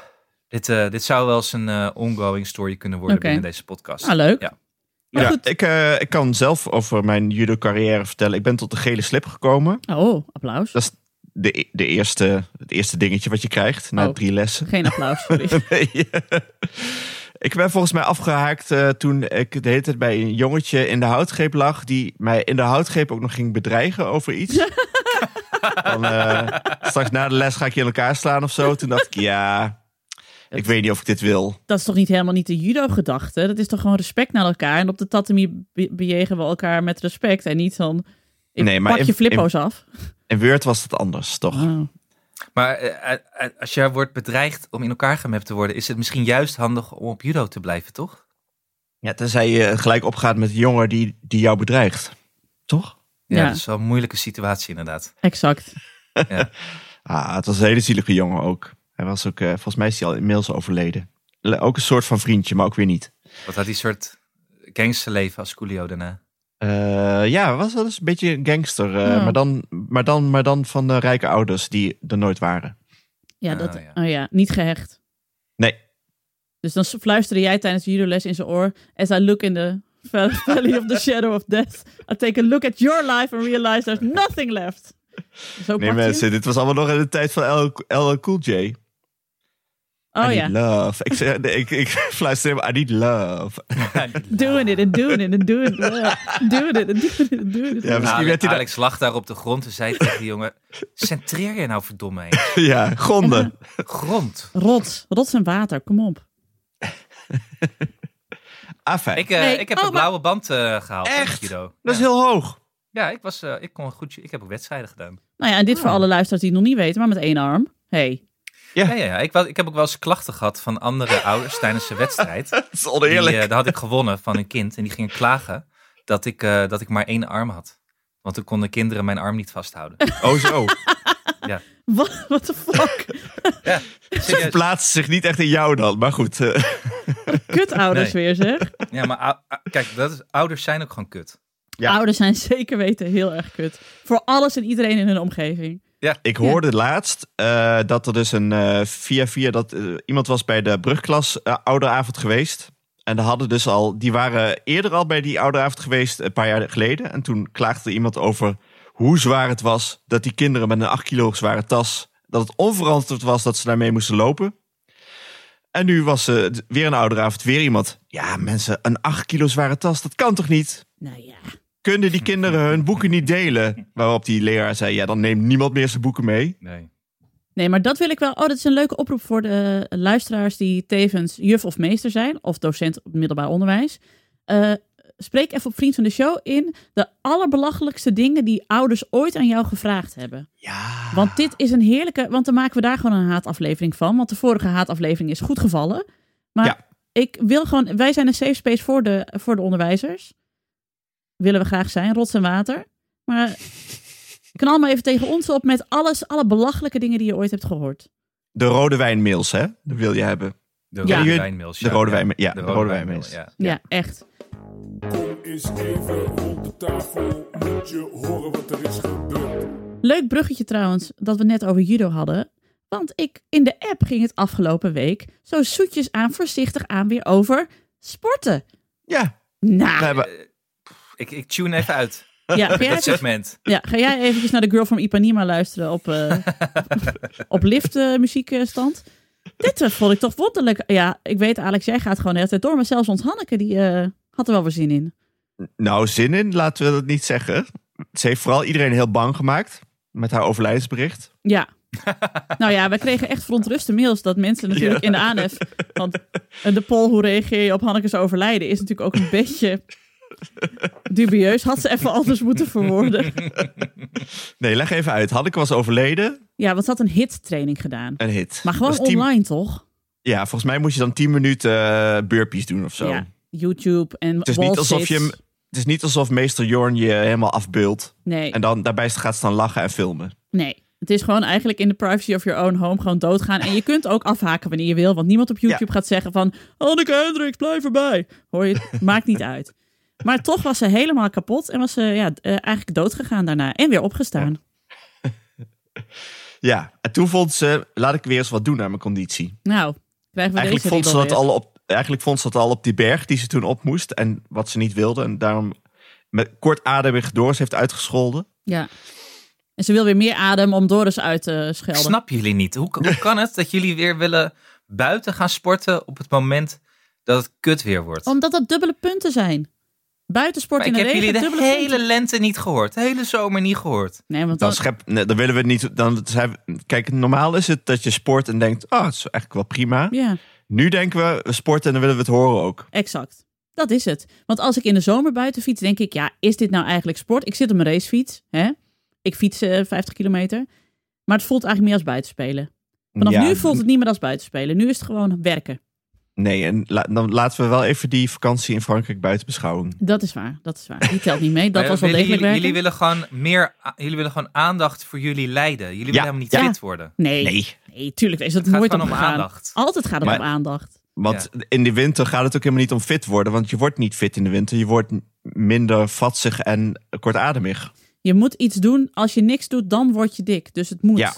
Speaker 1: dit, eh, dit zou wel eens een eh, ongoing story kunnen worden
Speaker 2: Oké.
Speaker 1: binnen deze podcast.
Speaker 2: nou leuk.
Speaker 1: Ja.
Speaker 2: Maar
Speaker 3: (laughs) ja,
Speaker 2: goed.
Speaker 3: ik, eh, ik kan zelf over mijn judo-carrière vertellen. Ik ben tot de gele slip gekomen.
Speaker 2: Oh, applaus.
Speaker 3: Dat is de, e-, de eerste, het eerste dingetje wat je krijgt na
Speaker 2: Oh.
Speaker 3: drie lessen. (laughs)
Speaker 2: Geen applaus, sorry.
Speaker 3: Nee. ik ben volgens mij afgehaakt eh, toen ik de hele tijd bij een jongetje in de houtgreep lag. Die mij in de houtgreep ook nog ging bedreigen over
Speaker 2: (laughs)
Speaker 3: iets. Van, eh, straks na de les ga ik je in elkaar slaan of zo. Toen dacht ik,
Speaker 2: (laughs)
Speaker 3: ja, ik weet niet of ik dit wil.
Speaker 2: Dat is toch niet helemaal niet de judo-gedachte? Dat is toch gewoon respect naar elkaar? En op de tatami be- bejegen we elkaar met respect en niet van, ik
Speaker 3: Nee, maar
Speaker 2: pak
Speaker 3: in-
Speaker 2: je flippo's af.
Speaker 3: In Word was dat anders, toch?
Speaker 2: Oh.
Speaker 1: Maar eh, eh, eh, als jij wordt bedreigd om in elkaar gemapt te worden, is het misschien juist handig om op judo te blijven, toch?
Speaker 3: Ja, tenzij je gelijk opgaat met de jongen die, die jou bedreigt. Toch?
Speaker 1: Ja,
Speaker 2: Ja.
Speaker 1: dat is wel een moeilijke situatie inderdaad.
Speaker 2: Exact.
Speaker 3: Ah, het was een hele zielige jongen ook. Hij was ook, eh, volgens mij is hij al inmiddels overleden. Le- Ook een soort van vriendje, maar ook weer niet.
Speaker 1: Wat had die soort gangsterleven als Coolio
Speaker 3: (laughs)
Speaker 1: daarna?
Speaker 3: Eh, ja, was wel eens een beetje een gangster. eh,
Speaker 2: Ja.
Speaker 3: maar, dan, maar, dan, maar dan van eh, rijke ouders die er nooit waren.
Speaker 2: Ja,
Speaker 3: Ah,
Speaker 1: Oh,
Speaker 2: dat,
Speaker 1: ja.
Speaker 2: Oh ja, niet gehecht.
Speaker 3: Nee,
Speaker 2: Dus dan fluisterde jij tijdens de judoles in zijn oor... As I look in the
Speaker 3: (laughs)
Speaker 2: val- valley of the shadow of death... I take a look at your life and realize there's nothing left. Zo
Speaker 3: nee
Speaker 2: pakt hij hem.
Speaker 3: mensen, dit was allemaal nog in de tijd van L, L Cool J. I
Speaker 2: Oh
Speaker 3: need
Speaker 2: ja,
Speaker 3: love. Ik, zeg- nee, ik, (laughs) ik fluister hem, I need love. (laughs)
Speaker 2: doing it and doing it and doing it. Doing it and doing it and doing it.
Speaker 3: Ja, misschien werd hij daar-
Speaker 1: Nou, Alex lag daar op de grond en zei tegen die jongen, centreer je nou verdomme heen.
Speaker 3: ja, gronden.
Speaker 2: (laughs)
Speaker 1: Grond.
Speaker 2: Rots, rots en water, kom op.
Speaker 3: Afijn.
Speaker 1: Ik, eh,
Speaker 2: Nee,
Speaker 1: ik heb
Speaker 2: oh,
Speaker 1: een
Speaker 2: maar-
Speaker 1: blauwe band eh, gehaald. hè,
Speaker 3: Echt?
Speaker 1: Judo.
Speaker 3: Dat is
Speaker 1: ja.
Speaker 3: heel hoog.
Speaker 1: Ja, ik, was, eh, ik kon goed, ju- ik heb ook wedstrijden gedaan.
Speaker 2: Nou ja, en dit
Speaker 3: Ah.
Speaker 2: voor alle luisteraars die het nog niet weten, maar met één arm. Hey.
Speaker 1: Ja, ja, ja. Ik, was, ik heb ook wel eens klachten gehad van andere ouders tijdens een wedstrijd.
Speaker 3: Dat is
Speaker 1: Die,
Speaker 3: oneerlijk.
Speaker 1: eh, daar had ik gewonnen van een kind en die gingen klagen dat ik, eh, dat ik maar één arm had. Want toen konden kinderen mijn arm niet vasthouden.
Speaker 3: (laughs) Oh zo.
Speaker 2: What, (laughs) what the fuck?
Speaker 3: Ze
Speaker 1: Serieus.
Speaker 3: verplaatsen zich niet echt in jou dan. Maar goed. eh, (laughs)
Speaker 2: Kutouders
Speaker 1: Nee.
Speaker 2: weer zeg.
Speaker 1: Ja, maar ou- ou- kijk, dat is, ouders zijn ook gewoon kut.
Speaker 3: Ja.
Speaker 2: Ouders zijn zeker weten heel erg kut. Voor alles en iedereen in hun omgeving.
Speaker 3: ik hoorde laatst eh, dat er dus een eh, via via dat eh, iemand was bij de brugklas eh, ouderavond geweest. En daar hadden dus al, die waren eerder al bij die ouderavond geweest een paar jaar geleden. En toen klaagde iemand over hoe zwaar het was dat die kinderen met een 8 kilo zware tas, dat het onverantwoord was dat ze daarmee moesten lopen. En nu was eh, d- weer een ouderavond, weer iemand. Ja mensen, een 8 kilo zware tas, dat kan toch niet?
Speaker 2: Nou ja.
Speaker 3: kunnen die kinderen hun boeken niet delen? Waarop die leraar zei, ja, dan neemt niemand meer zijn boeken mee.
Speaker 1: Nee.
Speaker 2: Nee, maar dat wil ik wel. Oh, dat is een leuke oproep voor de eh, luisteraars die tevens juf of meester zijn. Of docent op middelbaar onderwijs. Eh, spreek even op Vriend van de Show in de allerbelachelijkste dingen die ouders ooit aan jou gevraagd hebben.
Speaker 3: Ja.
Speaker 2: Want dit is een heerlijke. Want dan maken we daar gewoon een haataflevering van. Want de vorige haataflevering is goed gevallen. Maar
Speaker 3: Ja.
Speaker 2: ik wil gewoon. Wij zijn een safe space voor de, voor de onderwijzers. Willen we graag zijn, rots en water. Maar knal maar even tegen ons op met alles, alle belachelijke dingen die je ooit hebt gehoord.
Speaker 3: De rode wijnmails, hè? Dat wil je hebben.
Speaker 1: De
Speaker 2: Ja.
Speaker 1: rode wijnmails.
Speaker 3: De rode wijn- ja, de rode wijnmails.
Speaker 1: Ja.
Speaker 2: Ja, echt.
Speaker 5: Kom eens even rond de tafel, moet je horen wat er is gebeurd.
Speaker 2: Leuk bruggetje trouwens, dat we het net over judo hadden. Want ik, in de app ging het afgelopen week zo zoetjes aan, voorzichtig aan weer over sporten.
Speaker 3: Ja.
Speaker 2: Nou, (laughs)
Speaker 3: We hebben,
Speaker 1: Ik, ik tune even uit
Speaker 2: ja, ga jij,
Speaker 1: dat segment.
Speaker 2: ja, ga jij eventjes naar de Girl from Ipanema luisteren op, (laughs) eh, op lift eh, muziekstand? Dit eh, vond ik toch wonderlijk. Ja, ik weet Alex, jij gaat gewoon de hele tijd door. Maar zelfs ons Hanneke, die eh, had er wel weer zin in.
Speaker 3: nou, zin in, laten we dat niet zeggen. Ze heeft vooral iedereen heel bang gemaakt met haar overlijdensbericht. (laughs)
Speaker 2: Ja. nou ja, we kregen echt verontruste mails dat mensen natuurlijk in de aanhef... Want eh, de poll hoe reageer je op Hanneke's overlijden is natuurlijk ook
Speaker 3: (laughs)
Speaker 2: een beetje dubieus. Had ze even anders moeten verwoorden.
Speaker 3: Nee, leg even uit. Hanneke was overleden.
Speaker 2: Ja, want ze had een hittraining gedaan.
Speaker 3: Een hit.
Speaker 2: Maar gewoon
Speaker 3: Dat is tien-
Speaker 2: online toch?
Speaker 3: Ja, volgens mij moest je dan 10 minuten eh, burpees doen of zo.
Speaker 2: Ja, YouTube en
Speaker 3: Het is, niet alsof je, hem- het is niet alsof meester Jorn je helemaal afbeult.
Speaker 2: Nee,
Speaker 3: En dan daarbij gaat staan lachen en filmen.
Speaker 2: nee. Het is gewoon eigenlijk in de privacy of your own home gewoon doodgaan. En je kunt ook afhaken wanneer je wil. Want niemand op YouTube gaat zeggen van... "Oh, Anneke Hendricks, blijf erbij. Hoor je het? Maakt niet uit. Maar toch was ze helemaal kapot. En was ze ja, eh, eigenlijk dood gegaan daarna. En weer opgestaan.
Speaker 3: Ja, en toen vond ze, laat ik weer eens wat doen aan mijn conditie.
Speaker 2: Nou, krijgen we
Speaker 3: Eigenlijk
Speaker 2: deze
Speaker 3: vond, ze
Speaker 2: riedel
Speaker 3: dat
Speaker 2: weer.
Speaker 3: al op, eigenlijk vond ze dat al op die berg die ze toen op moest. En wat ze niet wilde. En daarom met kortademig Doris heeft uitgescholden.
Speaker 2: Ja. En ze wil weer meer adem om Doris uit te schelden.
Speaker 1: Snappen jullie niet? Hoe, hoe kan het dat jullie weer willen buiten gaan sporten op het moment dat het kut weer wordt?
Speaker 2: Omdat dat dubbele punten zijn. Buitensport
Speaker 1: Maar
Speaker 2: in
Speaker 1: ik
Speaker 2: de
Speaker 1: heb
Speaker 2: regen,
Speaker 1: jullie de
Speaker 2: dubbele
Speaker 1: hele
Speaker 2: punten.
Speaker 1: lente niet gehoord. De hele zomer niet gehoord.
Speaker 2: Nee, want
Speaker 3: Dan,
Speaker 2: dan,
Speaker 3: schep, nee, dan willen we het niet. Dan zijn we- kijk, normaal is het dat je sport en denkt: oh, het is eigenlijk wel prima.
Speaker 2: ja,
Speaker 3: Nu denken we, we sporten en dan willen we het horen ook.
Speaker 2: exact. Dat is het. Want als ik in de zomer buiten fiets, denk ik, ja, is dit nou eigenlijk sport? Ik zit op mijn racefiets, hè? Ik fiets eh, 50 kilometer. Maar het voelt eigenlijk meer als buitenspelen. Vanaf
Speaker 3: Ja,
Speaker 2: nu voelt het niet meer als buitenspelen. Nu is het gewoon werken.
Speaker 3: Nee, en la- dan laten we wel even die vakantie in Frankrijk buiten beschouwing.
Speaker 2: Dat is waar, dat is waar. Die telt niet mee. Dat
Speaker 1: Maar
Speaker 2: was wel
Speaker 1: willen
Speaker 2: degelijk
Speaker 1: jullie,
Speaker 2: werken.
Speaker 1: jullie willen gewoon meer, a- jullie willen gewoon aandacht voor jullie lijden. Jullie willen helemaal niet
Speaker 2: Ja.
Speaker 1: fit worden. (laughs)
Speaker 2: Nee, nee.
Speaker 3: Nee,
Speaker 2: tuurlijk is dat
Speaker 1: Het gaat
Speaker 2: nooit om
Speaker 1: gewoon om
Speaker 2: gegaan.
Speaker 1: aandacht.
Speaker 2: Altijd gaat het
Speaker 3: Maar-
Speaker 2: om aandacht.
Speaker 3: want in de winter gaat het ook helemaal niet om fit worden. Want je wordt niet fit in de winter. Je wordt m- minder vatsig en kortademig.
Speaker 2: Je moet iets doen. Als je niks doet, dan word je dik. Dus het moet.
Speaker 3: Ja.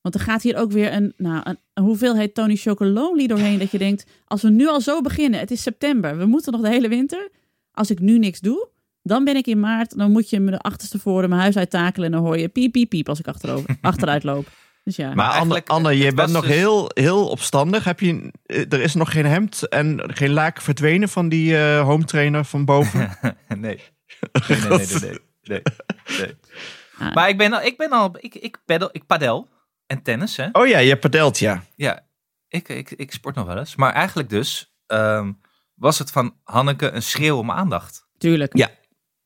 Speaker 2: Want er gaat hier ook weer een, nou, een, een hoeveelheid Tony Chocolonely doorheen. Dat je denkt, als we nu al zo beginnen. Het is september. We moeten nog de hele winter. Als ik nu niks doe, dan ben ik in maart. Dan moet je me de achterste voren mijn huis uittakelen. En dan hoor je piep, piep, piep als ik
Speaker 3: (laughs)
Speaker 2: achterover, achteruit loop. Dus ja.
Speaker 3: Maar Anne,
Speaker 1: eigenlijk,
Speaker 3: Anne
Speaker 1: het
Speaker 3: je
Speaker 1: was
Speaker 3: bent nog
Speaker 1: dus-
Speaker 3: heel, heel opstandig. Heb je, eh, er is nog geen hemd en geen laak verdwenen van die eh, home trainer van
Speaker 1: (laughs)
Speaker 3: boven.
Speaker 1: Nee. Nee, nee, nee, nee, nee, nee, nee.
Speaker 2: Ah.
Speaker 1: Maar ik ben al, ik ben al, ik, ik paddel, ik padel en tennis, hè?
Speaker 3: oh ja, je padelt, ja.
Speaker 1: Ja, ik, ik, ik sport nog wel eens. Maar eigenlijk dus ehm, was het van Hanneke een schreeuw om aandacht.
Speaker 2: tuurlijk.
Speaker 3: Ja.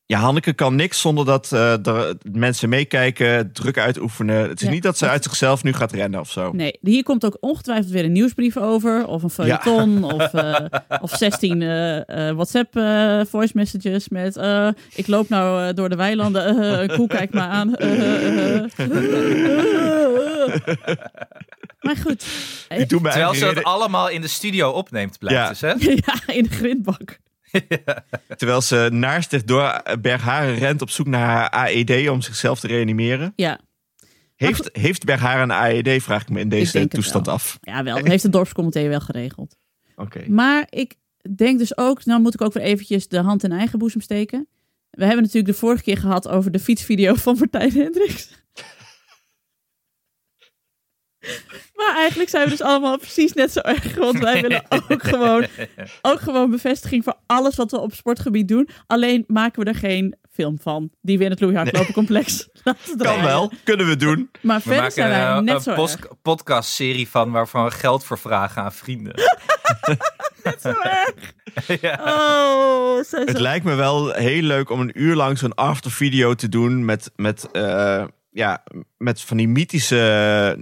Speaker 3: Ja, Hanneke kan niks zonder dat eh, er mensen meekijken, druk uitoefenen. Het is
Speaker 2: Ja.
Speaker 3: niet dat ze uit zichzelf nu gaat rennen of zo.
Speaker 2: Nee, hier komt ook ongetwijfeld weer een nieuwsbrief over. Of een feuilleton. Of, eh, of 16 eh, eh, WhatsApp eh, voice messages met... eh, ik loop nou eh, door de weilanden. eh, eh, een koe kijkt me aan. eh, eh, eh, eh, eh. Maar goed.
Speaker 3: Ik doe
Speaker 1: Terwijl
Speaker 3: mijn eigen
Speaker 1: ze dat
Speaker 3: reden-
Speaker 1: allemaal in de studio opneemt, blijkt
Speaker 3: Ja.
Speaker 1: dus, hè?
Speaker 2: (laughs) Ja, in de grindbak.
Speaker 3: Terwijl ze naast zich door Bergharen rent op zoek naar haar AED om zichzelf te reanimeren.
Speaker 2: Ja,
Speaker 3: Heeft, heeft Bergharen een AED, vraag ik me in
Speaker 2: Ik denk
Speaker 3: deze
Speaker 2: het
Speaker 3: toestand
Speaker 2: wel.
Speaker 3: af.
Speaker 2: ja wel. Dat heeft de dorpscomité wel geregeld.
Speaker 3: Oké.
Speaker 2: Maar ik denk dus ook, nou moet ik ook weer eventjes de hand in eigen boezem steken. We hebben natuurlijk de vorige keer gehad over de (laughs) fietsvideo van Martijn Hendricks. Maar eigenlijk zijn we dus allemaal precies net zo erg. Want wij willen
Speaker 3: (laughs)
Speaker 2: ook gewoon, ook gewoon bevestiging voor alles wat we op sportgebied doen. Alleen maken we er geen film van. Die we in het Louis Hardlopen
Speaker 3: (laughs)
Speaker 2: complex (laughs) laten draaien.
Speaker 3: Kan wel, kunnen we
Speaker 1: (laughs)
Speaker 3: eh, doen.
Speaker 2: Maar
Speaker 1: We
Speaker 2: verder
Speaker 1: maken
Speaker 2: zijn wij
Speaker 1: een,
Speaker 2: net
Speaker 1: een
Speaker 2: zo
Speaker 1: pos-
Speaker 2: erg.
Speaker 1: podcastserie van waarvan we geld voor vragen aan vrienden.
Speaker 2: Net
Speaker 3: (laughs)
Speaker 2: zo erg. Oh, zij
Speaker 3: Het
Speaker 2: zo-
Speaker 3: lijkt me wel heel leuk om een uur lang zo'n aftervideo te doen met, met, eh, ja, met van die mythische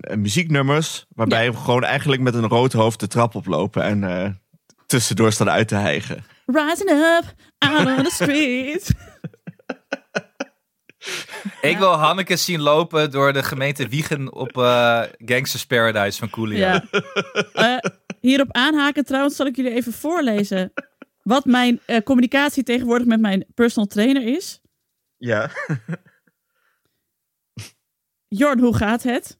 Speaker 3: eh, muzieknummers. Waarbij we gewoon eigenlijk met een rood hoofd de trap oplopen en eh, tussendoor staan uit te hijgen.
Speaker 2: Rising up, out on the
Speaker 1: (laughs)
Speaker 2: street.
Speaker 1: Ik wil Hanneke zien lopen door de gemeente Wiegen op eh, Gangsters Paradise van Coolio.
Speaker 2: Ja. Eh, hierop aanhaken trouwens zal ik jullie even voorlezen. Wat mijn eh, communicatie tegenwoordig met mijn personal trainer is.
Speaker 3: Ja.
Speaker 2: Jorn, hoe gaat het?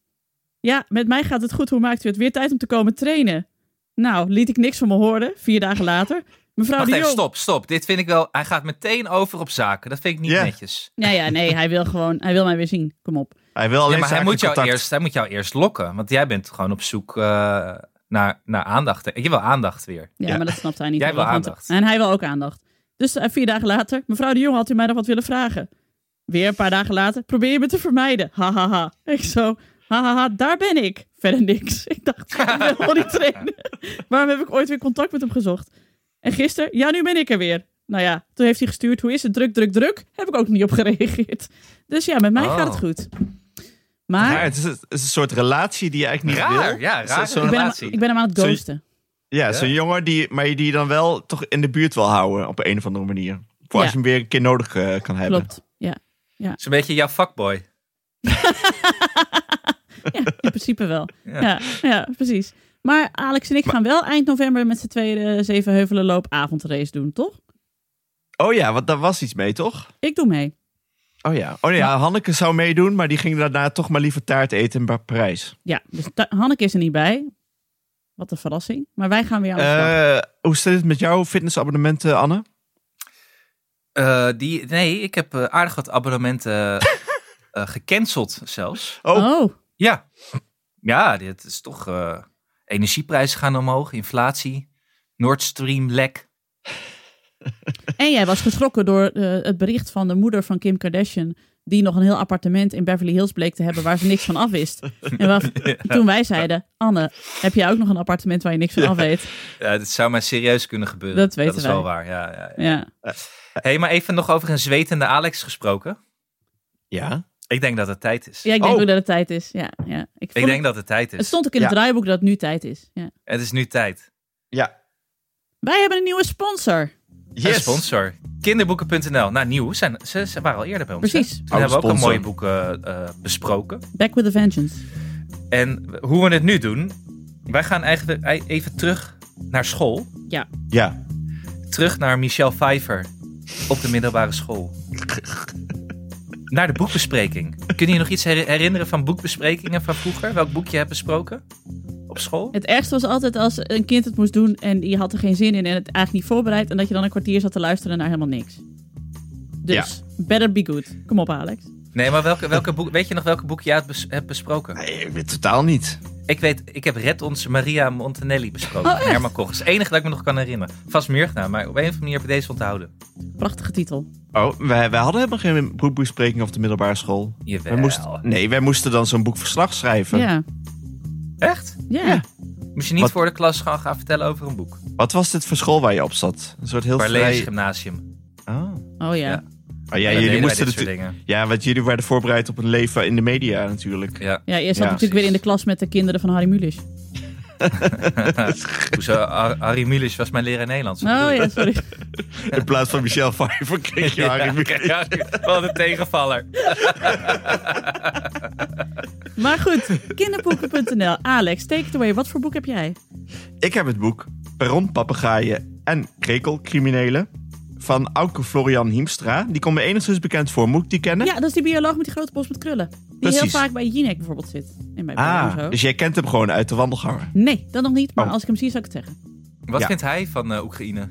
Speaker 2: Ja, met mij gaat het goed. Hoe maakt u het? Weer tijd om te komen trainen. Nou, liet ik niks van me horen. Vier dagen later. Mevrouw
Speaker 1: Wacht
Speaker 2: de
Speaker 1: even,
Speaker 2: Jong.
Speaker 1: stop, stop. Dit vind ik wel... Hij gaat meteen over op zaken. Dat vind ik niet
Speaker 3: Ja.
Speaker 1: netjes.
Speaker 2: Ja, ja, nee, hij wil gewoon, hij wil mij weer zien. Kom op.
Speaker 3: Hij wil alleen
Speaker 1: Ja, maar hij moet, jou
Speaker 3: contact.
Speaker 1: eerst, hij moet jou eerst lokken. Want jij bent gewoon op zoek eh, naar, naar aandacht. Je wil aandacht weer.
Speaker 2: Ja,
Speaker 3: Ja.
Speaker 2: maar dat snapt hij niet.
Speaker 1: Jij
Speaker 2: Hij
Speaker 1: wil
Speaker 2: gewoon-
Speaker 1: aandacht.
Speaker 2: En hij wil ook aandacht. Dus eh, vier dagen later, mevrouw de Jong had u mij nog wat willen vragen. Weer een paar dagen later, probeer je me te vermijden. Ha, ha, ha. Ik zo, ha, ha, ha, daar ben ik. Verder niks. (laughs) Ik dacht, ik ben gewoon niet
Speaker 1: (laughs)
Speaker 2: trainen. Waarom heb ik ooit weer contact met hem gezocht? En gisteren, ja, nu ben ik er weer. Nou ja, toen heeft hij gestuurd, hoe is het, druk, druk, druk. Heb ik ook niet op gereageerd. Dus ja, met mij
Speaker 1: Oh.
Speaker 2: gaat het goed. Maar
Speaker 3: Ja, het, is, het is een soort relatie die je eigenlijk niet
Speaker 1: Raar,
Speaker 3: wil.
Speaker 1: ja,
Speaker 3: Het is
Speaker 1: raar.
Speaker 3: Zo'n,
Speaker 2: ik ben, hem,
Speaker 1: relatie.
Speaker 2: ik ben hem aan het
Speaker 3: Zo-
Speaker 2: ghosten.
Speaker 3: ja, zo'n jongen die, maar die je dan wel toch in de buurt wil houden op een of andere manier. Voor als
Speaker 2: Ja.
Speaker 3: je hem weer een keer nodig eh, kan hebben.
Speaker 2: Klopt, ja.
Speaker 1: Het is een beetje jouw fuckboy.
Speaker 2: Ja, in principe wel.
Speaker 1: Ja.
Speaker 2: Ja. Ja, precies. Maar Alex en ik gaan wel eind november met z'n tweeën de Zevenheuvelen loopavondrace doen, toch?
Speaker 3: Oh ja, want daar was iets mee, toch?
Speaker 2: Ik doe mee.
Speaker 3: Oh ja. Oh nee, ja, Hanneke zou meedoen, maar die ging daarna toch maar liever taart eten in Ba- Parijs.
Speaker 2: Ja, dus Ta- Hanneke is er niet bij. Wat een verrassing. Maar wij gaan weer aan de slag.
Speaker 3: Eh, hoe zit het met jouw fitnessabonnement, eh, Anne?
Speaker 1: Eh, die, nee, ik heb eh, aardig wat abonnementen
Speaker 3: (laughs)
Speaker 1: eh, gecanceld zelfs.
Speaker 3: oh.
Speaker 2: oh,
Speaker 1: Ja. Ja, dit is toch... eh, energieprijzen gaan omhoog, inflatie, Nord Stream lek.
Speaker 2: en jij was geschrokken door eh, het bericht van de moeder van Kim Kardashian... die nog een heel appartement in Beverly Hills bleek te hebben... waar ze niks van af wist. En waar- toen wij zeiden... Anne, heb jij ook nog een appartement waar je niks van af weet?
Speaker 1: Ja, dit zou mij serieus kunnen gebeuren.
Speaker 2: Dat weten
Speaker 1: Dat is
Speaker 2: wij.
Speaker 1: wel waar, ja. ja, ja.
Speaker 2: Ja.
Speaker 1: hey, maar even nog over een zwetende Alex gesproken.
Speaker 3: Ja.
Speaker 1: Ik denk dat het tijd is.
Speaker 2: ja, ik denk
Speaker 3: Oh.
Speaker 2: ook dat het tijd is. Ja, ja. Ik,
Speaker 1: Ik
Speaker 2: vond-
Speaker 1: denk dat het tijd
Speaker 2: Het
Speaker 1: is.
Speaker 2: stond ook in het
Speaker 3: Ja.
Speaker 2: draaiboek dat het nu tijd is. Ja.
Speaker 1: Het is nu tijd.
Speaker 3: Ja.
Speaker 2: Wij hebben een nieuwe sponsor.
Speaker 1: Yes. sponsor. Kinderboeken.nl. Nou, nieuw. Zijn, ze, ze waren al eerder bij ons.
Speaker 2: Precies.
Speaker 1: hè? Toen
Speaker 3: Oude
Speaker 1: hebben we ook een
Speaker 3: sponsor.
Speaker 1: mooie boek eh, eh, besproken.
Speaker 2: Back with a Vengeance.
Speaker 1: En hoe we het nu doen. Wij gaan eigenlijk e- even terug naar school.
Speaker 3: Ja.
Speaker 1: Terug naar Michelle Pfeiffer op de middelbare school. Naar de boekbespreking. Kun je je nog iets her- herinneren van boekbesprekingen van vroeger? Welk boek je hebt besproken op school?
Speaker 2: Het ergste was altijd als een kind het moest doen en die had er geen zin in en het eigenlijk niet voorbereid. En dat je dan een kwartier zat te luisteren naar helemaal niks. Dus, better be good. Kom op Alex.
Speaker 1: Nee, maar welke, welke boek, weet je nog welke boek je hebt bes- hebt besproken?
Speaker 3: Nee, ik weet totaal niet.
Speaker 1: Ik weet, ik heb Red Ons Maria Montanelli besproken.
Speaker 2: Oh,
Speaker 1: van
Speaker 2: echt?
Speaker 1: Herman Koch. Dat is het enige dat ik me nog kan herinneren. Vast meer gedaan, maar op een of andere manier heb ik deze onthouden.
Speaker 2: Prachtige titel.
Speaker 3: Oh, wij, wij hadden helemaal geen boekbespreking op de middelbare school.
Speaker 1: Jawel.
Speaker 3: Wij moesten, nee, wij moesten dan zo'n boekverslag schrijven.
Speaker 2: Ja.
Speaker 1: Echt?
Speaker 2: Ja.
Speaker 3: Ja.
Speaker 1: Moest je niet
Speaker 3: Wat-
Speaker 1: voor de klas gaan, gaan vertellen over een boek?
Speaker 3: Wat was dit voor school waar je op zat? Een soort heel
Speaker 1: Parlees
Speaker 3: vrij...
Speaker 1: Gymnasium.
Speaker 3: Oh.
Speaker 2: Oh ja.
Speaker 1: Ja.
Speaker 2: ja.
Speaker 3: Oh, ja,
Speaker 1: Dan deden wij
Speaker 3: jullie moesten
Speaker 1: dit soort
Speaker 3: natuurlijk...
Speaker 1: dingen.
Speaker 3: Ja, want jullie werden voorbereid op een leven in de media natuurlijk.
Speaker 1: Ja.
Speaker 2: eerst zat
Speaker 3: Ja,
Speaker 2: ik natuurlijk weer in de klas met de kinderen van Harry Mulisch.
Speaker 1: Hoezo, Ar- Harry Mulisch was mijn leraar Nederlands.
Speaker 3: Nou.
Speaker 2: Oh ja,
Speaker 3: (laughs)
Speaker 2: sorry.
Speaker 3: In plaats van
Speaker 1: (laughs)
Speaker 3: Michel Pfeiffer kreeg je Harry Mulisch.
Speaker 1: Ja, wat een tegenvaller.
Speaker 2: Maar goed, kinderboeken.nl. Alex, take it away. Wat voor boek heb jij?
Speaker 3: Ik heb het boek Perronpapegaaien en Krekelcriminelen van Auke Florian Hiemstra. Die komt me enigszins bekend voor. Moet ik die kennen?
Speaker 2: Ja, dat is die bioloog met die grote bos met krullen. Die heel
Speaker 3: Precies.
Speaker 2: vaak bij Jinek bijvoorbeeld zit. En bij Bram en
Speaker 3: Ah,
Speaker 2: zo.
Speaker 3: dus jij kent hem gewoon uit de wandelgangen.
Speaker 2: Nee, dat nog niet. Maar
Speaker 3: Oh.
Speaker 2: als ik hem zie, zal ik het zeggen.
Speaker 1: Wat
Speaker 3: Ja.
Speaker 1: vindt hij van eh, Oekraïne?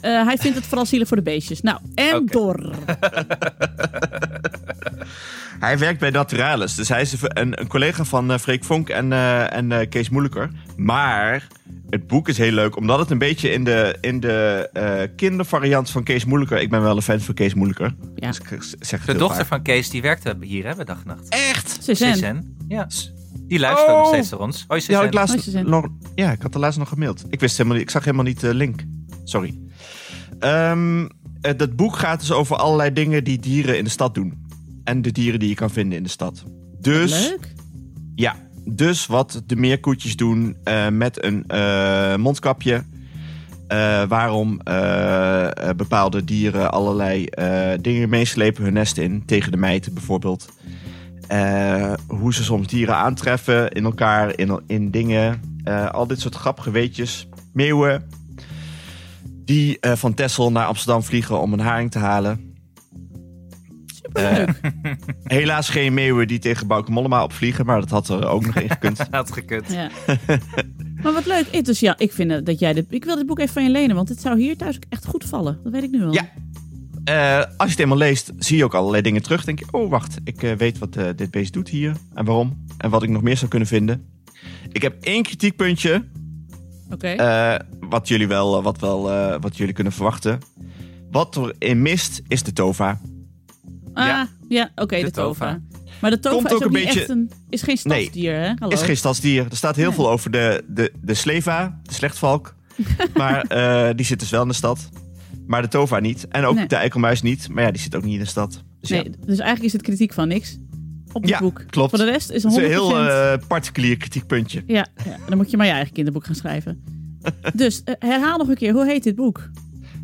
Speaker 2: Eh, hij
Speaker 3: (laughs)
Speaker 2: vindt het vooral zielig voor de beestjes. Nou, en
Speaker 1: Oké.
Speaker 2: door.
Speaker 3: Hij werkt bij Naturalis. Dus hij is een, een collega van eh, Freek Vonk en, eh, en eh, Kees Moeilijker. Maar het boek is heel leuk, omdat het een beetje in de, in de eh, kindervariant van Kees Moeilijker... Ik ben wel een fan van Kees Moeilijker.
Speaker 2: Ja.
Speaker 3: Dus ik zeg het
Speaker 1: De
Speaker 3: heel
Speaker 1: dochter
Speaker 3: vaak.
Speaker 1: van Kees, die werkte hier, hè, bij dag en nacht.
Speaker 3: Echt?
Speaker 2: Cezanne.
Speaker 1: CSN. Ja. Die luistert ook nog
Speaker 3: Oh.
Speaker 1: steeds naar ons. Hoi,
Speaker 3: Die had ik
Speaker 1: CSN.
Speaker 3: laatst
Speaker 2: Mooi gezin.
Speaker 3: nog, ja, ik had de laatst nog gemaild. Ik, wist helemaal niet, ik zag helemaal niet de link. Sorry. Ehm, eh, dat boek gaat dus over allerlei dingen die dieren in de stad doen. En de dieren die je kan vinden in de stad. Dus...
Speaker 2: Leuk.
Speaker 3: Ja, dus wat de meerkoetjes doen eh, met een eh, mondkapje. Eh, waarom eh, eh, bepaalde dieren allerlei eh, dingen meeslepen hun nest in. Tegen de mijten bijvoorbeeld. Eh, hoe ze soms dieren aantreffen in elkaar, in, in dingen. Eh, al dit soort grappige weetjes. Meeuwen. Die eh, van Texel naar Amsterdam vliegen om een haring te halen.
Speaker 2: Superleuk.
Speaker 3: Helaas geen meeuwen die tegen Bauke Mollema opvliegen. Maar dat had er ook nog in gekund.
Speaker 1: Had
Speaker 3: eh.
Speaker 1: gekund.
Speaker 2: Ja. maar wat leuk. Eh, Dus ja, ik vind eh, dat jij dit... Ik wil dit boek even van je lenen, want het zou hier thuis ook echt goed vallen. Dat weet ik nu al.
Speaker 3: Ja. Eh, als je het eenmaal leest, zie je ook allerlei dingen terug. Denk je, oh wacht, ik eh, weet wat eh, dit beest doet hier en waarom. En wat ik nog meer zou kunnen vinden. Ik heb één kritiekpuntje,
Speaker 2: Oké.
Speaker 3: eh, wat, jullie wel, eh, wat, wel, eh, wat jullie kunnen verwachten. Wat erin mist, is de tova.
Speaker 2: ah, ja,
Speaker 1: ja.
Speaker 2: oké, de,
Speaker 1: De
Speaker 2: tova.
Speaker 1: tova.
Speaker 2: Maar de tova
Speaker 3: Komt
Speaker 2: is ook,
Speaker 3: ook een
Speaker 2: niet
Speaker 3: beetje-
Speaker 2: echt een... Is geen stadsdier, hè? Hallo.
Speaker 3: Is geen stadsdier. Er staat heel
Speaker 2: Nee.
Speaker 3: veel over de, de, de sleva, de
Speaker 2: (laughs)
Speaker 3: slechtvalk. maar eh, die zit dus wel in de stad. Maar de tova niet. En ook
Speaker 2: Nee.
Speaker 3: de eikelmuis niet. Maar ja, die zit ook niet in de stad. Dus ja.
Speaker 2: Nee, dus eigenlijk is het kritiek van niks. Op het
Speaker 3: Ja,
Speaker 2: boek.
Speaker 3: klopt.
Speaker 2: Voor de rest is 100%.
Speaker 3: Het is een heel eh, particulier kritiekpuntje.
Speaker 2: ja, ja, dan moet je maar je eigen kinderboek gaan
Speaker 3: (laughs)
Speaker 2: schrijven. dus eh, herhaal nog een keer, hoe heet dit boek?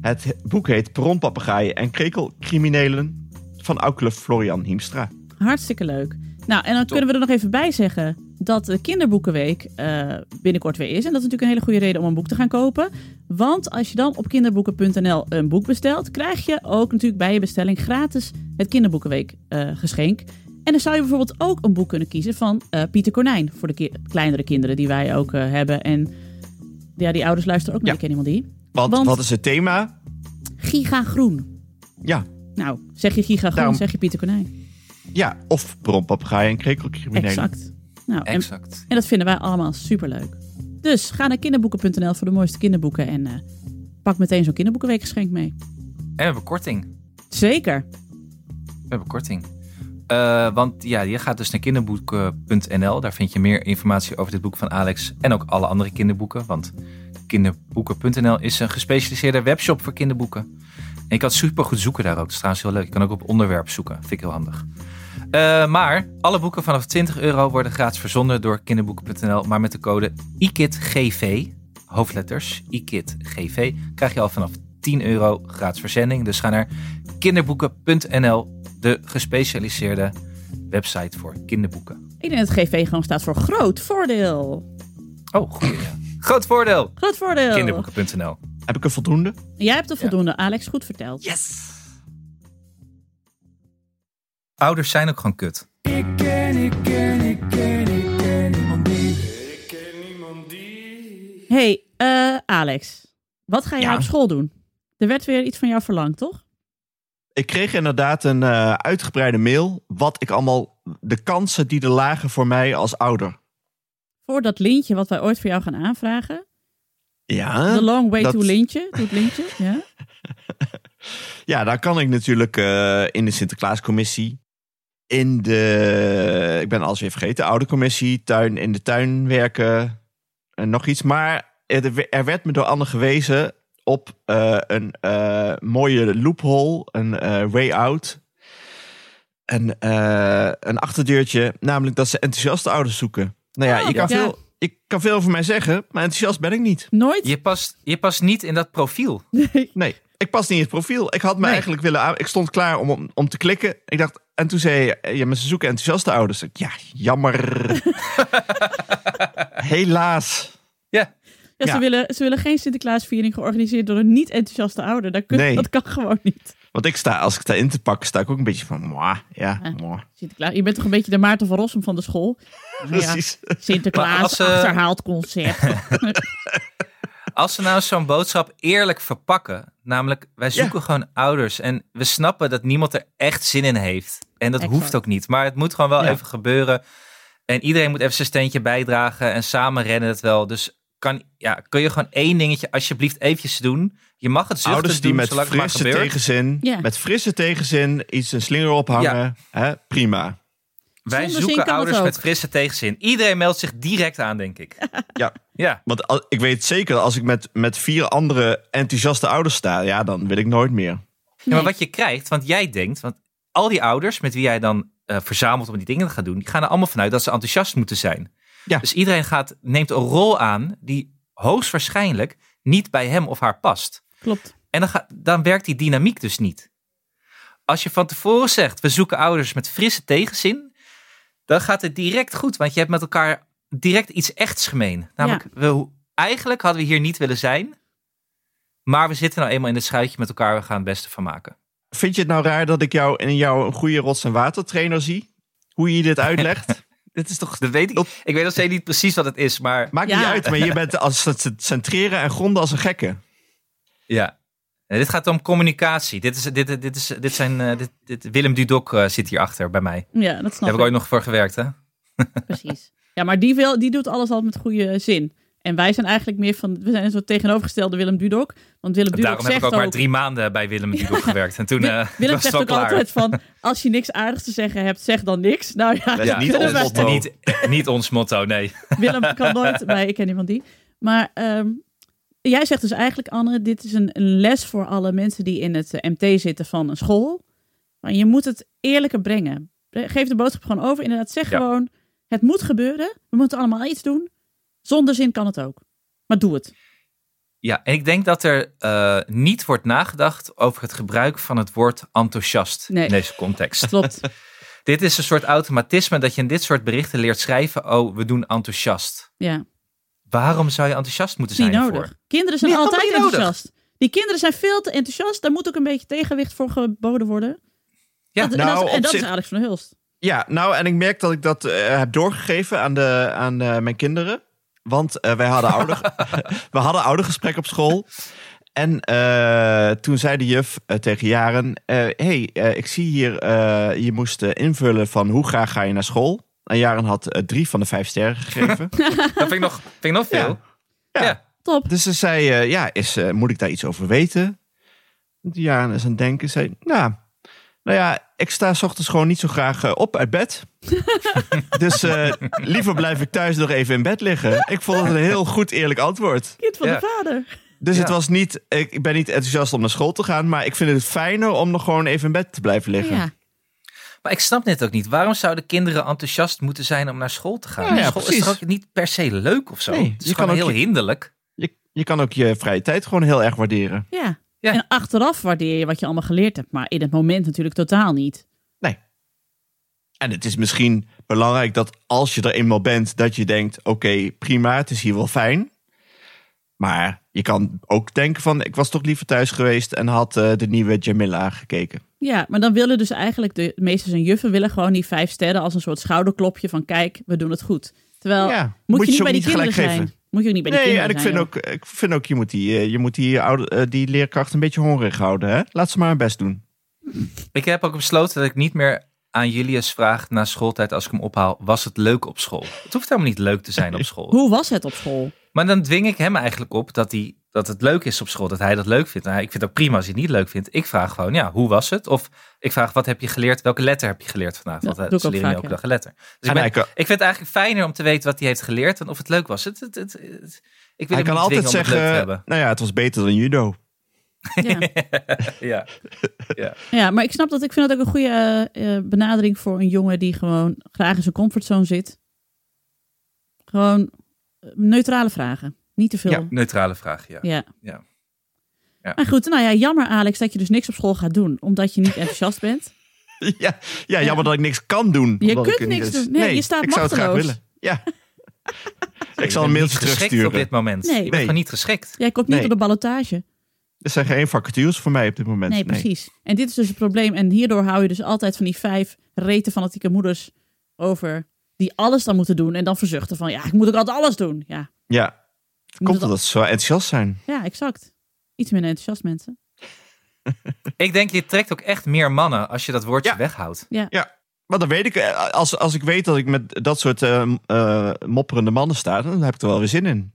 Speaker 3: Het he- boek heet Perronpapegaaien en Krekelcriminelen van Aukle Florian Hiemstra.
Speaker 2: Hartstikke leuk. Nou, en dan kunnen we er nog even bij zeggen dat de Kinderboekenweek eh, binnenkort weer is. En dat is natuurlijk een hele goede reden om een boek te gaan kopen. Want als je dan op kinderboeken.nl een boek bestelt, krijg je ook natuurlijk bij je bestelling gratis het Kinderboekenweek eh, geschenk. En dan zou je bijvoorbeeld ook een boek kunnen kiezen van eh, Pieter Konijn. Voor de ki- kleinere kinderen die wij ook eh, hebben. En ja, die ouders luisteren ook naar
Speaker 3: Ja.
Speaker 2: Ik Ken Iemand Die.
Speaker 3: Want,
Speaker 2: Want-
Speaker 3: wat is het thema?
Speaker 2: Giga Groen.
Speaker 3: Ja,
Speaker 2: Nou, zeg je Giga Groen,
Speaker 3: Daarom-
Speaker 2: zeg je Pieter Konijn.
Speaker 3: ja of Perronpapegaaien en Krekelcriminelen.
Speaker 2: Exact. Nou, en
Speaker 1: Exact.
Speaker 2: En dat vinden wij allemaal superleuk. Dus ga naar kinderboeken.nl voor de mooiste kinderboeken en eh, pak meteen zo'n kinderboekenweekgeschenk mee.
Speaker 1: En we hebben korting.
Speaker 2: Zeker.
Speaker 1: We hebben korting. Eh, want ja, je gaat dus naar kinderboeken.nl. Daar vind je meer informatie over dit boek van Alex. En ook alle andere kinderboeken. Want kinderboeken.nl is een gespecialiseerde webshop voor kinderboeken. En je kan super goed zoeken daar ook. Dat is trouwens heel leuk. Je kan ook op onderwerp zoeken. Vind ik heel handig. Eh, maar alle boeken vanaf 20 euro worden gratis verzonden door kinderboeken.nl. Maar met de code IKIDGV, hoofdletters IKIDGV, krijg je al vanaf 10 euro gratis verzending. Dus ga naar kinderboeken.nl, de gespecialiseerde website voor kinderboeken.
Speaker 2: Ik denk dat GV gewoon staat voor groot voordeel.
Speaker 1: Oh, goed. Ja. Groot voordeel!
Speaker 2: Groot voordeel.
Speaker 1: Kinderboeken.nl.
Speaker 3: Heb ik er voldoende?
Speaker 2: Jij hebt er voldoende, Alex. Goed verteld.
Speaker 1: Yes! Ouders zijn ook gewoon kut.
Speaker 5: Ik ken, ik ken, ik ken, ik ken niemand die. Ik ken niemand die.
Speaker 2: Hey, eh, Alex. Wat ga jij
Speaker 3: Ja.
Speaker 2: op school doen? Er werd weer iets van jou verlangd, toch?
Speaker 3: Ik kreeg inderdaad een eh, uitgebreide mail. Wat ik allemaal. De kansen die er lagen voor mij als ouder.
Speaker 2: Voor dat lintje wat wij ooit voor jou gaan aanvragen.
Speaker 3: Ja,
Speaker 2: The long way
Speaker 3: dat-
Speaker 2: to lintje. Doe het
Speaker 3: (laughs)
Speaker 2: lintje. Ja.
Speaker 3: ja daar kan ik natuurlijk eh, in de Sinterklaascommissie. In de. Ik ben alles weer vergeten. Oude commissie, tuin, in de tuin werken. en nog iets. Maar er, we- er werd me door Anne gewezen op eh, een eh, mooie loophole, een eh, way out. Een, eh, een achterdeurtje, namelijk dat ze enthousiaste ouders zoeken. Nou ja,
Speaker 2: Oh,
Speaker 3: je kan
Speaker 2: ja.
Speaker 3: veel, ik kan veel over mij zeggen, maar enthousiast ben ik niet.
Speaker 2: Nooit.
Speaker 1: Je past, je past niet in dat profiel.
Speaker 3: Nee, ik pas niet in het profiel. Ik had me
Speaker 1: Nee.
Speaker 3: eigenlijk willen aan- Ik stond klaar om, om, om te klikken. Ik dacht, en toen zei je, eh, ja, maar ze zoeken enthousiaste ouders. Ik, ja,
Speaker 1: (laughs)
Speaker 3: jammer. Helaas.
Speaker 1: Ja,
Speaker 2: Ja, Ze,
Speaker 3: Ja.
Speaker 2: willen, ze willen geen Sinterklaasviering georganiseerd door een niet enthousiaste ouder. Dat, kun-
Speaker 3: Nee.
Speaker 2: dat kan gewoon niet.
Speaker 3: Want ik sta, als ik daarin te pakken, sta ik ook een beetje van, mwah, ja,
Speaker 2: Ja.
Speaker 3: mwah.
Speaker 2: Sinterklaas, je bent toch een beetje de Maarten van Rossum van de
Speaker 1: (laughs)
Speaker 2: school? Nou ja,
Speaker 3: (laughs) Precies.
Speaker 2: Sinterklaas,
Speaker 1: Maar als, eh, (laughs)
Speaker 2: achterhaald concert.
Speaker 1: Als ze nou zo'n boodschap eerlijk verpakken, namelijk wij zoeken gewoon ouders en we snappen dat niemand er echt zin in heeft. En dat
Speaker 2: Exact.
Speaker 1: hoeft ook niet, maar het moet gewoon wel
Speaker 3: Ja.
Speaker 1: even gebeuren. En iedereen moet even zijn steentje bijdragen en samen rennen het wel. Dus kan, ja, kun je gewoon één dingetje alsjeblieft eventjes doen. Je mag het zuchten
Speaker 3: Ouders die
Speaker 1: doen,
Speaker 3: met
Speaker 1: zolang het maar
Speaker 3: frisse
Speaker 1: gebeurt.
Speaker 3: tegenzin,
Speaker 2: Ja.
Speaker 3: met frisse tegenzin iets een slinger ophangen, hè, prima.
Speaker 1: Wij
Speaker 2: Zonder zin
Speaker 1: zoeken
Speaker 2: kan het
Speaker 1: ouders met
Speaker 2: ook.
Speaker 1: frisse tegenzin. Iedereen meldt zich direct aan, denk
Speaker 2: (laughs)
Speaker 1: ik.
Speaker 3: Ja.
Speaker 1: Ja,
Speaker 3: Want al- ik weet zeker, als ik met, met vier andere enthousiaste ouders sta, ja, dan wil ik nooit meer.
Speaker 1: Ja,
Speaker 2: Nee.
Speaker 1: maar wat je krijgt, want jij denkt, want al die ouders met wie jij dan eh, verzamelt om die dingen te gaan doen, die gaan er allemaal vanuit dat ze enthousiast moeten zijn.
Speaker 3: Ja.
Speaker 1: Dus iedereen gaat, neemt een rol aan die hoogstwaarschijnlijk niet bij hem of haar past.
Speaker 2: Klopt.
Speaker 1: En dan, gaat, dan werkt die dynamiek dus niet. Als je van tevoren zegt, we zoeken ouders met frisse tegenzin, dan gaat het direct goed, want je hebt met elkaar direct iets echts gemeen. Namelijk, we, eigenlijk hadden we hier niet willen zijn, maar we zitten nou eenmaal in het schuitje met elkaar, we gaan het beste van maken.
Speaker 3: Vind je het nou raar dat ik jou in jou een goede rots- en watertrainer zie? Hoe je dit uitlegt? dit is toch...
Speaker 1: Dat weet ik. Ik weet nog steeds niet precies wat het is, maar
Speaker 3: Maakt niet
Speaker 2: Ja.
Speaker 3: uit, maar je bent als het centreren en gronden als een gekke.
Speaker 1: ja. Eh, Dit gaat om communicatie. Dit is, dit, dit is, dit zijn, eh, dit, dit, Willem Dudok eh, zit hierachter bij mij.
Speaker 2: Ja, dat
Speaker 1: Daar
Speaker 2: snap
Speaker 1: heb ik
Speaker 2: ik.
Speaker 1: ooit nog voor gewerkt, hè?
Speaker 2: Precies. Ja, maar die, wil, die doet alles altijd met goede zin. En wij zijn eigenlijk meer van, we zijn een soort tegenovergestelde Willem Dudok. Want Willem Dudok
Speaker 1: Daarom heb
Speaker 2: zegt
Speaker 1: ik ook maar
Speaker 2: ook-
Speaker 1: drie maanden bij Willem Dudok gewerkt. En toen
Speaker 2: Wi-
Speaker 1: eh, (laughs)
Speaker 2: Willem
Speaker 1: was het
Speaker 2: zegt
Speaker 1: wel
Speaker 2: ook
Speaker 1: klaar.
Speaker 2: altijd van, als je niks aardigs te zeggen hebt, zeg dan niks. Nou (laughs) ja,
Speaker 3: Dat is
Speaker 1: Ja,
Speaker 3: niet
Speaker 2: kunnen
Speaker 3: ons
Speaker 2: wij-
Speaker 3: motto.
Speaker 1: Niet, eh, niet ons motto, nee.
Speaker 2: Willem kan
Speaker 1: (laughs)
Speaker 2: nooit, maar ik ken iemand die. Maar ehm, jij zegt dus eigenlijk, Anne, dit is een, een les voor alle mensen die in het eh, MT zitten van een school. Maar je moet het eerlijker brengen. Geef de boodschap gewoon over. Inderdaad, zeg
Speaker 1: Ja.
Speaker 2: gewoon, het moet gebeuren. We moeten allemaal iets doen. Zonder zin kan het ook. Maar doe het.
Speaker 1: Ja, en ik denk dat er eh, niet wordt nagedacht over het gebruik van het woord enthousiast
Speaker 2: Nee.
Speaker 1: in deze context. (laughs)
Speaker 2: Klopt.
Speaker 1: dit is een soort automatisme dat je in dit soort berichten leert schrijven. Oh, we doen enthousiast.
Speaker 2: Ja,
Speaker 1: Waarom zou je enthousiast moeten
Speaker 2: is niet
Speaker 1: zijn hiervoor?
Speaker 2: nodig. Kinderen zijn
Speaker 1: Nee,
Speaker 2: altijd
Speaker 1: helemaal niet nodig.
Speaker 2: enthousiast. Die kinderen zijn veel te enthousiast. Daar moet ook een beetje tegenwicht voor geboden worden.
Speaker 1: Ja,
Speaker 2: dat, en
Speaker 3: nou,
Speaker 2: dat, en
Speaker 3: op
Speaker 2: dat is
Speaker 3: zich-
Speaker 2: Alex van der Hulst.
Speaker 3: Ja, nou, en ik merk dat ik dat eh, heb doorgegeven aan, de, aan eh, mijn kinderen. Want eh, wij hadden ouder, (laughs) we hadden oudergesprek op school. En eh, toen zei de juf eh, tegen Jaren... eh, hey, eh, ik zie hier, eh, je moest eh, invullen van hoe graag ga je naar school? En Jaren had eh, drie van de vijf sterren gegeven.
Speaker 1: Dat vind ik nog, vind ik nog veel.
Speaker 3: Ja.
Speaker 1: Ja.
Speaker 2: Top.
Speaker 3: Dus ze zei, eh, ja, is, eh, moet ik daar iets over weten? Die Jaren is aan het denken. Zei, nou, nou ja, ik sta 's ochtends gewoon niet zo graag eh, op uit bed. dus eh, liever blijf ik thuis nog even in bed liggen. Ik vond het een heel goed eerlijk antwoord.
Speaker 2: Kind van
Speaker 1: Ja.
Speaker 2: de vader.
Speaker 3: Dus
Speaker 1: Ja.
Speaker 3: het was niet, ik, ik ben niet enthousiast om naar school te gaan. Maar ik vind het fijner om nog gewoon even in bed te blijven liggen.
Speaker 2: Ja.
Speaker 1: Maar ik snap dit ook niet. Waarom zouden kinderen enthousiast moeten zijn om naar school te gaan?
Speaker 3: Ja, ja,
Speaker 1: school is
Speaker 3: precies.
Speaker 1: toch ook niet per se leuk of zo?
Speaker 3: Nee,
Speaker 1: het is
Speaker 3: je
Speaker 1: gewoon
Speaker 3: kan
Speaker 1: heel
Speaker 3: ook je-
Speaker 1: hinderlijk.
Speaker 3: Je, je kan ook je vrije tijd gewoon heel erg waarderen.
Speaker 2: Ja.
Speaker 1: Ja.
Speaker 2: En achteraf waardeer je wat je allemaal geleerd hebt, maar in het moment natuurlijk totaal niet.
Speaker 3: Nee. En het is misschien belangrijk dat als je er eenmaal bent, dat je denkt: oké, prima, het is hier wel fijn. Maar je kan ook denken van, ik was toch liever thuis geweest en had eh, de nieuwe Jamila gekeken.
Speaker 2: Ja, maar dan willen dus eigenlijk de meesters en juffen willen gewoon die vijf sterren als een soort schouderklopje van kijk, we doen het goed. Terwijl
Speaker 3: Ja,
Speaker 2: moet,
Speaker 3: moet
Speaker 2: je,
Speaker 3: je
Speaker 2: niet
Speaker 3: ze
Speaker 2: bij
Speaker 3: ook
Speaker 2: die
Speaker 3: niet
Speaker 2: kinderen
Speaker 3: gelijk
Speaker 2: zijn.
Speaker 3: geven.
Speaker 2: Moet je ook niet bij die
Speaker 3: Nee, en
Speaker 2: kinderen zijn.
Speaker 3: ik vind, ook, ik vind ook, je moet die, eh, je moet die, oude, eh, die leerkracht een beetje hongerig houden. Hè? Laat ze maar hun best doen.
Speaker 1: Ik heb ook besloten dat ik niet meer aan Julius vraag na schooltijd als ik hem ophaal. Was het leuk op school? Het hoeft helemaal niet leuk te
Speaker 3: (laughs)
Speaker 1: zijn op
Speaker 2: joh.
Speaker 1: school.
Speaker 2: Hoe was het op school?
Speaker 1: Maar dan dwing ik hem eigenlijk op dat, hij, dat het leuk is op school. Dat hij dat leuk vindt. Nou, ik vind het ook prima als hij het niet leuk vindt. Ik vraag gewoon, ja, hoe was het? Of ik vraag, wat heb je geleerd? Welke letter heb je geleerd vandaag?
Speaker 2: Ja,
Speaker 1: Want eh,
Speaker 2: doe ik
Speaker 1: ze
Speaker 2: ook
Speaker 1: leren nu
Speaker 2: vaak,
Speaker 1: elke
Speaker 2: ja.
Speaker 1: dag een letter. Dus ik,
Speaker 3: En
Speaker 1: ben,
Speaker 3: hij
Speaker 1: ik
Speaker 3: Ah, nou, kan-
Speaker 1: vind het eigenlijk fijner om te weten wat hij heeft geleerd dan of het leuk was. Het, het, het, het- ik wil hem
Speaker 3: Hij kan
Speaker 1: niet dwingen
Speaker 3: altijd
Speaker 1: om het leuk te
Speaker 3: zeggen,
Speaker 1: hebben.
Speaker 3: nou ja, het was beter dan judo. (laughs)
Speaker 2: Ja.
Speaker 1: Ja. ja.
Speaker 2: ja, maar ik snap dat. Ik vind dat ook een goede eh, eh, benadering voor een jongen die gewoon graag in zijn comfortzone zit. Gewoon eh, neutrale vragen. Niet te veel.
Speaker 3: Ja.
Speaker 1: Neutrale vraag, ja.
Speaker 2: ja.
Speaker 1: ja.
Speaker 2: Maar goed, nou ja, jammer Alex dat je dus niks op school gaat doen, omdat je niet enthousiast bent.
Speaker 3: Ja, ja, jammer dat ik niks kan doen.
Speaker 2: Je
Speaker 3: omdat ik
Speaker 2: kunt
Speaker 3: er niet
Speaker 2: niks
Speaker 3: eens-
Speaker 2: doen. Nee, je staat
Speaker 3: ik zou het graag
Speaker 2: machteloos.
Speaker 3: willen. Ja. (laughs) ik
Speaker 1: Je
Speaker 3: zal
Speaker 1: bent
Speaker 3: een mailtje
Speaker 1: niet geschikt
Speaker 3: terugsturen.
Speaker 1: op dit moment.
Speaker 2: Nee.
Speaker 1: Je bent
Speaker 3: Nee.
Speaker 1: gewoon niet geschikt.
Speaker 2: Jij komt niet
Speaker 3: Nee.
Speaker 2: door de ballotage.
Speaker 3: Er zijn geen vacatures voor mij op dit moment.
Speaker 2: Nee, precies. En dit is dus het probleem. En hierdoor hou je dus altijd van die vijf reten fanatieke moeders over die alles dan moeten doen. En dan verzuchten van, ja, ik moet ook altijd alles doen. Ja,
Speaker 3: Ja. Komt omdat ze zo enthousiast zijn.
Speaker 2: Ja, exact. Iets minder enthousiast mensen.
Speaker 1: Ik denk, je trekt ook echt meer mannen als je dat woordje
Speaker 3: Ja.
Speaker 1: weghoudt.
Speaker 3: Ja. Maar dan weet ik, eh, als, als ik weet dat ik met dat soort eh, eh, mopperende mannen sta, dan heb ik er wel weer zin in.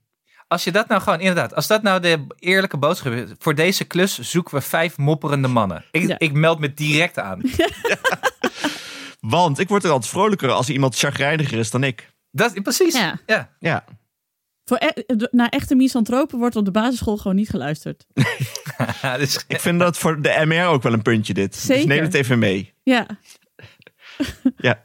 Speaker 1: Als je dat nou gewoon, inderdaad, als dat nou de eerlijke boodschap is. Voor deze klus zoeken we vijf mopperende mannen. Ik,
Speaker 2: Ja.
Speaker 1: ik meld me direct aan.
Speaker 3: Want ik word er altijd vrolijker als iemand chagrijniger is dan ik.
Speaker 1: Dat, precies.
Speaker 2: Ja.
Speaker 1: Ja.
Speaker 3: Ja.
Speaker 2: Voor e- naar echte misantropen wordt op de basisschool gewoon niet geluisterd.
Speaker 1: Ja, dus-
Speaker 3: Ik vind dat voor de MR ook wel een puntje dit.
Speaker 2: Zeker.
Speaker 3: Dus neem het even mee.
Speaker 2: Ja,
Speaker 3: Ja.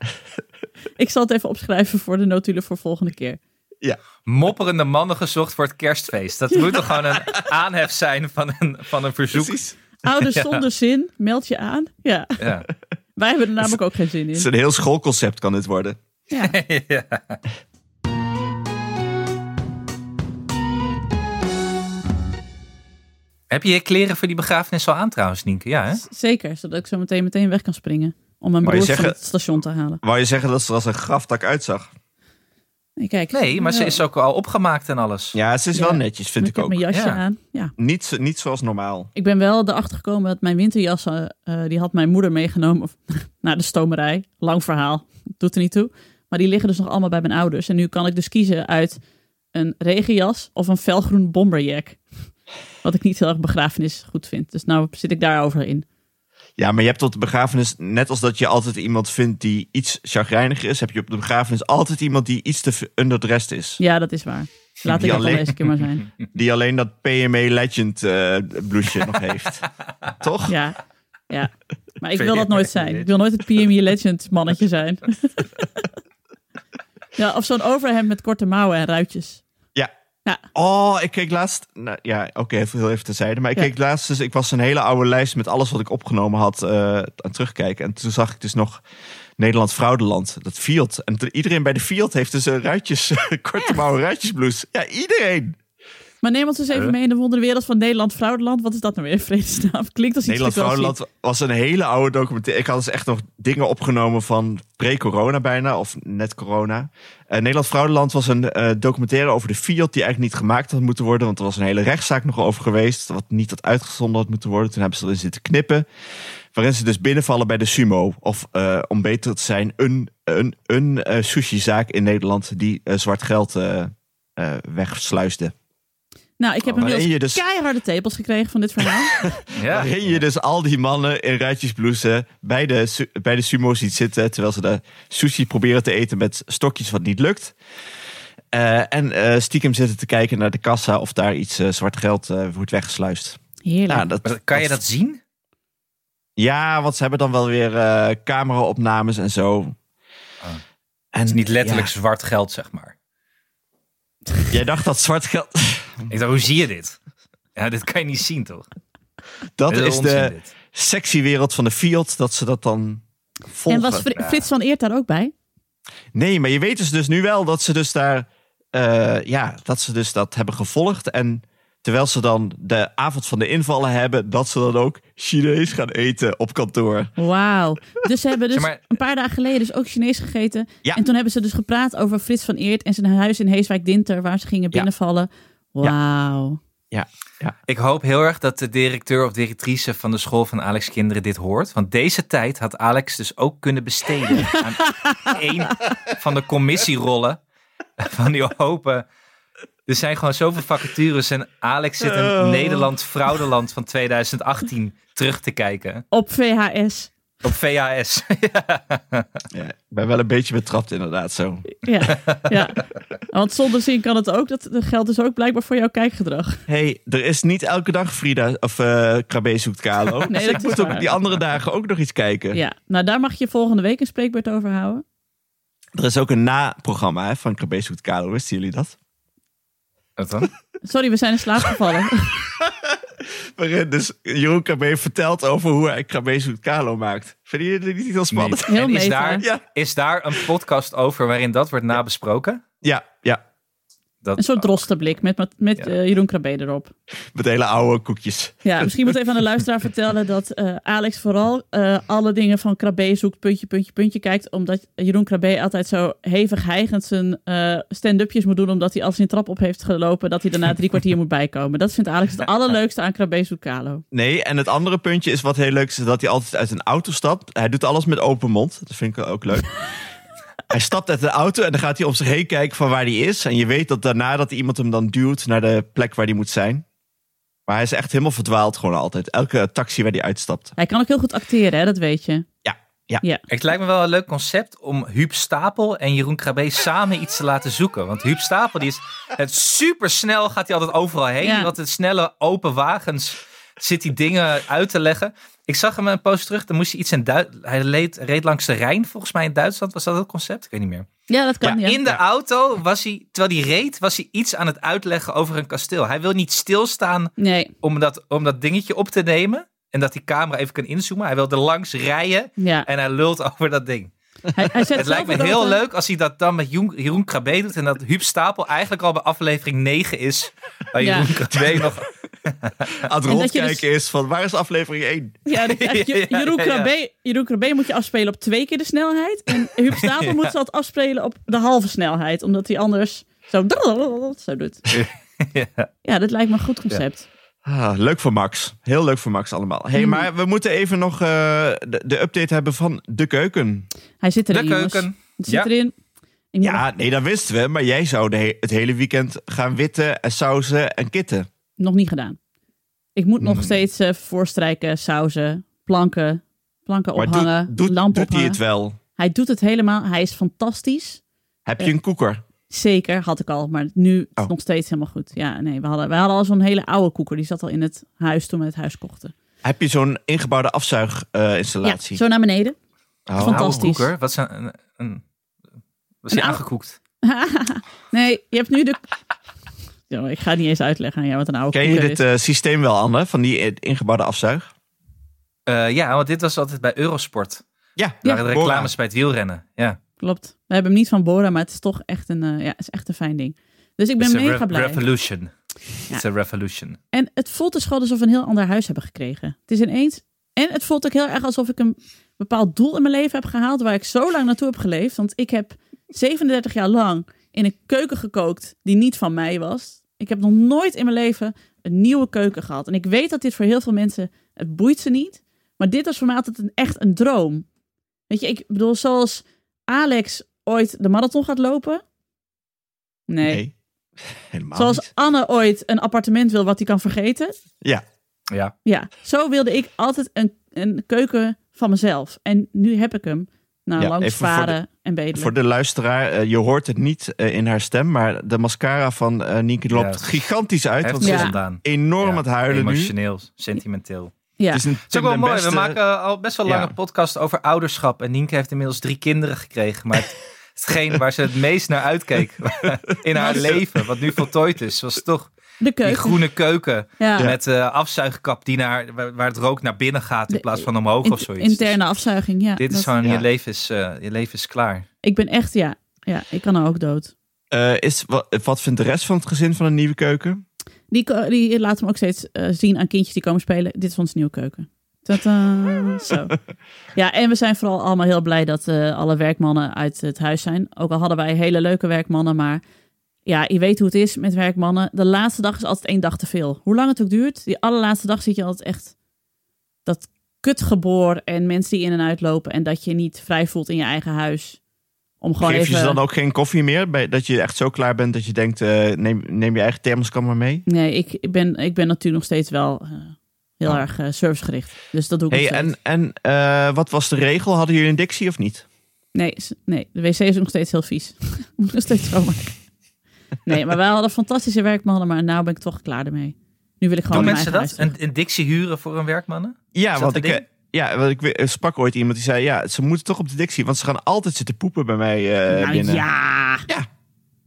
Speaker 2: ik zal het even opschrijven voor de notulen voor volgende keer.
Speaker 3: ja.
Speaker 1: mopperende mannen gezocht voor het kerstfeest. Dat moet toch gewoon een aanhef zijn van een, van een verzoek.
Speaker 3: Precies.
Speaker 2: Ouders zonder zin, meld je aan. Ja,
Speaker 1: Ja. (laughs)
Speaker 2: wij hebben er namelijk ook geen zin
Speaker 3: Het is
Speaker 2: in.
Speaker 3: een heel schoolconcept kan dit worden.
Speaker 2: Ja.
Speaker 1: Ja. Heb je je kleren voor die begrafenis al aan trouwens, Nienke? Ja, hè?
Speaker 2: Zeker, zodat ik zo meteen meteen weg kan springen. Om mijn
Speaker 3: Maar je
Speaker 2: broer van
Speaker 3: zeggen-
Speaker 2: het station te halen.
Speaker 3: Wou je zeggen dat ze er als een graftak uitzag?
Speaker 2: Nee, Kijk,
Speaker 1: Nee, maar ze
Speaker 2: Ja.
Speaker 1: is ook al opgemaakt en alles.
Speaker 3: Ja, ze is
Speaker 2: Ja.
Speaker 3: wel netjes, vind
Speaker 2: ik
Speaker 3: ik
Speaker 2: heb
Speaker 3: ook.
Speaker 2: mijn jasje
Speaker 1: Ja.
Speaker 2: aan. Ja.
Speaker 3: Niet, zo- niet zoals normaal.
Speaker 2: Ik ben wel erachter gekomen dat mijn winterjas, eh, eh, die had mijn moeder meegenomen (laughs) naar de stomerij. Lang verhaal, doet er niet toe. Maar die liggen dus nog allemaal bij mijn ouders. En nu kan ik dus kiezen uit een regenjas of een felgroen bomberjack. Wat ik niet heel erg begrafenis goed vind. Dus nou zit ik daarover in.
Speaker 3: Ja, maar je hebt op de begrafenis, net als dat je altijd iemand vindt die iets chagrijniger is, heb je op de begrafenis altijd iemand die iets te underdressed is.
Speaker 2: Ja, dat is waar. Laat ik
Speaker 3: Die
Speaker 2: dat dan
Speaker 3: alleen-
Speaker 2: deze keer maar zijn.
Speaker 3: Die alleen dat PME Legend eh blouseje nog heeft. Toch?
Speaker 2: Ja, ja. Maar ik wil dat nooit zijn. Ik wil nooit het PME Legend mannetje zijn. (laughs) Ja, of zo'n overhemd met korte mouwen en ruitjes.
Speaker 3: Ja.
Speaker 2: Ja.
Speaker 3: Oh, ik keek laatst. Nou, ja, oké, even heel even terzijde. Maar ik
Speaker 2: Ja.
Speaker 3: keek laatst dus. Ik was een hele oude lijst met alles wat ik opgenomen had eh, aan terugkijken. En toen zag ik dus nog Nederland Fraudeland, dat Field. En toen- iedereen bij de Field heeft dus een ruitjes, (laughs) een korte mouwen ruitjesblouse. Ja, iedereen.
Speaker 2: Maar neem ons eens even
Speaker 1: Huh?
Speaker 2: mee in de wonderwereld van Nederland Fraudeland. Wat is dat nou weer (laughs) in vredesnaam? Klinkt als iets
Speaker 3: Nederland
Speaker 2: dat ik wel
Speaker 3: Fraudeland was een hele oude documentaire. Ik had dus echt nog dingen opgenomen van pre-corona bijna, of net corona. Eh, Nederland Fraudeland was een eh, documentaire over de Fiat die eigenlijk niet gemaakt had moeten worden. Want er was een hele rechtszaak nog over geweest, wat niet had uitgezonden had moeten worden. Toen hebben ze erin zitten knippen. Waarin ze dus binnenvallen bij de Sumo. Of eh, om beter te zijn, een, een, een eh, sushizaak in Nederland die eh, zwart geld eh, eh, wegsluisde.
Speaker 2: zie. Nou, ik heb
Speaker 3: Waarin
Speaker 2: inmiddels
Speaker 3: je dus-
Speaker 2: keiharde tepels gekregen van dit verhaal.
Speaker 1: Ja.
Speaker 3: Waarin je dus al die mannen in ruitjesblouses bij de, su- bij de sumo ziet zitten. Terwijl ze de sushi proberen te eten met stokjes wat niet lukt. Eh, en eh, stiekem zitten te kijken naar de kassa of daar iets eh, zwart geld eh, wordt weggesluist.
Speaker 2: Heerlijk.
Speaker 3: Nou, dat,
Speaker 1: Maar kan je dat zien?
Speaker 3: Ja, want ze hebben dan wel weer eh cameraopnames en zo. En
Speaker 1: Ah. Het is niet letterlijk zwart geld, zeg maar.
Speaker 3: ja, jij dacht dat zwart geld. (laughs)
Speaker 1: Ik dacht, hoe zie je dit? Ja, dit kan je niet zien, toch?
Speaker 3: Dat
Speaker 1: Dit
Speaker 3: is
Speaker 1: onzin,
Speaker 3: de
Speaker 1: dit.
Speaker 3: sexy wereld van de Fiat. Dat ze dat dan
Speaker 2: en
Speaker 3: volgen.
Speaker 2: was Fri- Frits van Eert daar ook bij?
Speaker 3: Nee, maar je weet dus, dus nu wel dat ze dus daar. eh, ja, dat ze dus dat hebben gevolgd. En terwijl ze dan de avond van de invallen hebben, dat ze dan ook Chinees gaan eten op kantoor.
Speaker 2: Wauw. Dus ze hebben dus
Speaker 1: Zeg maar-
Speaker 2: een paar dagen geleden dus ook Chinees gegeten.
Speaker 3: Ja.
Speaker 2: En toen hebben ze dus gepraat over Frits van Eert en zijn huis in Heeswijk-Dinter... waar ze gingen binnenvallen. Wauw.
Speaker 3: Ja, ja.
Speaker 1: Ik hoop heel erg dat de directeur of directrice van de school van Alex' kinderen dit hoort. Want deze tijd had Alex dus ook kunnen besteden aan (laughs) één van de commissierollen van die hopen. Er zijn gewoon zoveel vacatures en Alex zit in
Speaker 3: Oh.
Speaker 1: Nederland fraudeland van 2018 terug te kijken.
Speaker 2: Op VHS.
Speaker 1: Op VHS.
Speaker 3: ja. Ik ben wel een beetje betrapt, inderdaad. Zo.
Speaker 2: Ja. ja. Want zonder zin kan het ook. Dat dat geldt dus ook blijkbaar voor jouw kijkgedrag.
Speaker 3: hey, er is niet elke dag Frida of eh Krabbe zoekt Kalo.
Speaker 2: Nee,
Speaker 3: Dus
Speaker 2: dat
Speaker 3: ik
Speaker 2: is
Speaker 3: moet ook
Speaker 2: waar.
Speaker 3: die andere dagen ook nog iets kijken.
Speaker 2: Ja, nou daar mag je volgende week een spreekbeurt over houden.
Speaker 3: Er is ook een na-programma hè, van Krabbe zoekt Kalo. Wisten jullie dat?
Speaker 1: Wat dan?
Speaker 2: Sorry, we zijn in slaap gevallen.
Speaker 3: Waarin dus Jeroen Krabbe vertelt over hoe hij Krabbe zoekt Kalo maakt. Vinden jullie dit niet heel spannend?
Speaker 2: Heel
Speaker 1: en is
Speaker 2: meta.
Speaker 1: daar,
Speaker 3: Ja.
Speaker 1: is daar een podcast over waarin dat wordt nabesproken?
Speaker 3: Ja, ja.
Speaker 1: Dat,
Speaker 2: Een soort drosterblik met, met, met
Speaker 1: Ja.
Speaker 2: eh, Jeroen Krabbe erop.
Speaker 3: Met hele oude koekjes.
Speaker 2: Ja, misschien moet ik even aan de luisteraar vertellen dat eh, Alex vooral eh, alle dingen van Krabbe zoekt, puntje, puntje, puntje kijkt. Omdat Jeroen Krabbe altijd zo hevig hijgend zijn eh, stand-upjes moet doen. Omdat hij als hij een trap op heeft gelopen, dat hij daarna drie kwartier moet bijkomen. Dat vindt Alex het allerleukste aan Krabbe zoekt Kalo.
Speaker 3: Nee, en het andere puntje is wat heel leuk is, is dat hij altijd uit een auto stapt. Hij doet alles met open mond. Dat vind ik ook
Speaker 2: (laughs)
Speaker 3: leuk. hij stapt uit de auto en dan gaat hij om zich heen kijken van waar hij is. En je weet dat daarna dat iemand hem dan duwt naar de plek waar hij moet zijn. Maar hij is echt helemaal verdwaald gewoon altijd. Elke taxi waar hij uitstapt.
Speaker 2: Hij kan ook heel goed acteren, hè, dat weet je.
Speaker 3: Ja, ja.
Speaker 2: Ja.
Speaker 1: Oh. Het lijkt me wel een leuk concept om Huub Stapel en Jeroen Krabbe samen iets te laten zoeken. Want Huub Stapel die is het supersnel, gaat hij altijd overal heen.
Speaker 2: Ja.
Speaker 1: Want in snelle open wagens zit hij dingen uit te leggen. Ik zag hem een poos terug, dan moest hij iets in Duitsland. Hij leed, reed langs de Rijn volgens mij in Duitsland. Was dat het concept? Ik weet niet meer.
Speaker 2: Ja, dat kan.
Speaker 1: Maar
Speaker 2: Ja,
Speaker 1: in de auto was hij, terwijl hij reed, was hij iets aan het uitleggen over een kasteel. Hij wil niet stilstaan
Speaker 2: Nee,
Speaker 1: om dat, om dat dingetje op te nemen. En dat die camera even kan inzoomen. Hij wil er langs rijden (laughs)
Speaker 2: ja.
Speaker 1: en hij lult over dat ding.
Speaker 2: Hij, hij zet
Speaker 1: Het lijkt me
Speaker 2: zelf ook
Speaker 1: heel
Speaker 2: altijd-
Speaker 1: leuk als hij dat dan met Joen- Jeroen Krabbe doet. En dat Huub Stapel eigenlijk al bij aflevering 9 is. Waar
Speaker 2: Ja.
Speaker 1: Jeroen
Speaker 2: (laughs)
Speaker 1: Krabbe nog...
Speaker 3: Aan het
Speaker 2: En dat je dus-
Speaker 3: rondkijken is van waar is aflevering 1?
Speaker 1: (laughs)
Speaker 2: Ja, dat je echt-
Speaker 1: Ja, ja, ja.
Speaker 2: Jeroen, Krabbe, Jeroen Krabbe moet je afspelen op twee keer de snelheid. En
Speaker 1: (laughs)
Speaker 2: Huub Stapel moet ze altijd afspelen op de halve snelheid. Omdat hij anders zo, (laughs) zo doet.
Speaker 1: (laughs) Ja.
Speaker 2: Ja, dat lijkt me een goed concept.
Speaker 3: Ah, leuk voor Max. Heel leuk voor Max allemaal.
Speaker 2: Mm.
Speaker 3: hey, maar we moeten even nog eh, de, de update hebben van de keuken.
Speaker 2: Hij zit erin,
Speaker 1: De
Speaker 2: jongens.
Speaker 1: keuken.
Speaker 2: Het zit
Speaker 1: Ja.
Speaker 2: erin. Ik moet
Speaker 3: Ja, nee, dat wisten we. Maar jij zou de he- het hele weekend gaan witten en sauzen en kitten.
Speaker 2: Nog niet gedaan. Ik moet
Speaker 1: Mm.
Speaker 2: nog steeds eh, voorstrijken, sauzen, planken, planken
Speaker 3: Maar
Speaker 2: ophangen,
Speaker 3: doet, doet,
Speaker 2: lamp
Speaker 3: doet hij
Speaker 2: ophangen.
Speaker 3: het wel?
Speaker 2: Hij doet het helemaal. Hij is fantastisch.
Speaker 3: Heb je een koeker?
Speaker 2: Zeker, had ik al. Maar nu is het
Speaker 3: Oh.
Speaker 2: nog steeds helemaal goed. Ja, nee, we hadden, we hadden al zo'n hele oude koeker. Die zat al in het huis toen we het huis kochten.
Speaker 3: Heb je zo'n ingebouwde
Speaker 2: Ja,
Speaker 3: afzuiginstallatie?
Speaker 2: zo naar beneden.
Speaker 3: Oh.
Speaker 2: van- Fantastisch.
Speaker 1: Oude koeker. Wat is een... een, een- was hij
Speaker 2: Een oude-
Speaker 1: aangekoekt?
Speaker 2: Nee, je hebt nu de... (laughs) Ja, maar ik ga het niet eens uitleggen aan jou wat een oude
Speaker 3: Ken je
Speaker 2: koeker
Speaker 3: dit
Speaker 2: is.
Speaker 3: eh, systeem wel, Anne? Van die eh, ingebouwde afzuig?
Speaker 1: Eh, ja, want dit was altijd bij Eurosport.
Speaker 3: Ja,
Speaker 1: Daar waren de
Speaker 3: Bora.
Speaker 1: reclames bij het wielrennen. Ja.
Speaker 2: Klopt. We hebben hem niet van Bora, maar het is toch echt een, eh, ja, het is echt een fijn ding. Dus ik ben
Speaker 1: It's a
Speaker 2: mega
Speaker 1: re-
Speaker 2: blij.
Speaker 1: revolution.
Speaker 2: Ja.
Speaker 1: It's a revolution.
Speaker 2: En het voelt dus gewoon alsof we een heel ander huis hebben gekregen. Het is ineens. En het voelt ook heel erg alsof ik een bepaald doel in mijn leven heb gehaald. waar ik zo lang naartoe heb geleefd. Want ik heb 37 jaar lang in een keuken gekookt die niet van mij was. Ik heb nog nooit in mijn leven een nieuwe keuken gehad. En ik weet dat dit voor heel veel mensen. het boeit ze niet. Maar dit was voor mij altijd een, echt een droom. Weet je, ik bedoel, zoals Alex ooit de marathon gaat lopen. Nee.
Speaker 3: Nee. Helemaal
Speaker 2: Zoals
Speaker 3: niet.
Speaker 2: Anne ooit een appartement wil wat hij kan vergeten.
Speaker 3: Ja.
Speaker 1: Ja.
Speaker 2: Ja, zo wilde ik altijd een, een keuken van mezelf. En nu heb ik hem. Nou,
Speaker 3: Ja,
Speaker 2: langs
Speaker 3: even voor de-
Speaker 2: varen en bedelen.
Speaker 3: Voor de luisteraar, eh, je hoort het niet eh, in haar stem, maar de mascara van eh Nienke loopt
Speaker 1: Ja.
Speaker 3: gigantisch uit.
Speaker 1: Hij
Speaker 3: Want
Speaker 1: heeft
Speaker 3: ze
Speaker 1: het
Speaker 2: Ja.
Speaker 3: is
Speaker 1: gedaan.
Speaker 3: enorm
Speaker 1: Ja,
Speaker 3: aan het huilen nu. Het
Speaker 1: Emotioneel, sentimenteel.
Speaker 2: ja.
Speaker 3: is een
Speaker 1: Het is ook wel mooi.
Speaker 3: beste...
Speaker 1: We maken al best eh, wel lange
Speaker 3: Ja.
Speaker 1: podcast over ouderschap. En Nienke heeft inmiddels drie kinderen gekregen. Maar (laughs) het- hetgeen waar ze het meest naar uitkeek in haar leven, wat nu voltooid is, was toch
Speaker 2: de
Speaker 1: die
Speaker 2: keuken.
Speaker 1: groene keuken
Speaker 2: Ja.
Speaker 1: met eh afzuigkap die naar, waar waar het rook naar binnen gaat in
Speaker 2: De-
Speaker 1: plaats van omhoog
Speaker 2: In-
Speaker 1: of zoiets.
Speaker 2: interne afzuiging, ja.
Speaker 1: Dus dit is
Speaker 2: Dat-
Speaker 1: gewoon,
Speaker 3: Ja.
Speaker 1: je, leven is, eh, je leven is klaar.
Speaker 2: Ik ben echt, ja, ja, ik kan er ook dood.
Speaker 3: Eh, is, wat, wat vindt de rest van het gezin van een nieuwe keuken?
Speaker 2: Die, ko- die laat hem ook steeds eh, zien aan kindjes die komen spelen. Dit is onze nieuwe keuken. Tadaa, zo. Ja, en we zijn vooral allemaal heel blij dat eh, alle werkmannen uit het huis zijn. Ook al hadden wij hele leuke werkmannen, maar ja, je weet hoe het is met werkmannen. De laatste dag is altijd één dag te veel. Hoe lang het ook duurt, die allerlaatste dag zit je altijd echt dat kutgeboor en mensen die in en uitlopen en dat je niet vrij voelt in je eigen huis. Om gewoon
Speaker 3: Geef je
Speaker 2: even...
Speaker 3: ze dan ook geen koffie meer? Bij, dat je echt zo klaar bent dat je denkt, eh, neem, neem je eigen thermoskan maar mee?
Speaker 2: Nee, ik, ik, ben, ik ben natuurlijk nog steeds wel eh, heel erg eh, servicegericht. Dus dat doe ik
Speaker 3: Oh. Hey,
Speaker 2: nog steeds.
Speaker 3: en en eh, wat was de regel? Hadden jullie een dictie of niet?
Speaker 2: Nee, s- nee, de wc is nog steeds heel vies. (laughs) Moet ik nog steeds schoonmaken. Nee, maar wij hadden fantastische werkmannen, maar nou ben ik toch klaar ermee. Nu wil ik gewoon
Speaker 1: Doen
Speaker 2: mijn
Speaker 1: mensen
Speaker 2: eigen
Speaker 1: dat?
Speaker 2: huis terug.
Speaker 1: Een, een dictie huren voor een werkmannen?
Speaker 3: Ja,
Speaker 1: Is dat
Speaker 3: want
Speaker 1: een
Speaker 3: ik, eh,
Speaker 1: ding?
Speaker 3: ja, want ik we- eh, sprak ooit iemand die zei, ja, ze moeten toch op de dictie, want ze gaan altijd zitten poepen bij mij eh,
Speaker 2: Nou,
Speaker 3: binnen.
Speaker 2: ja,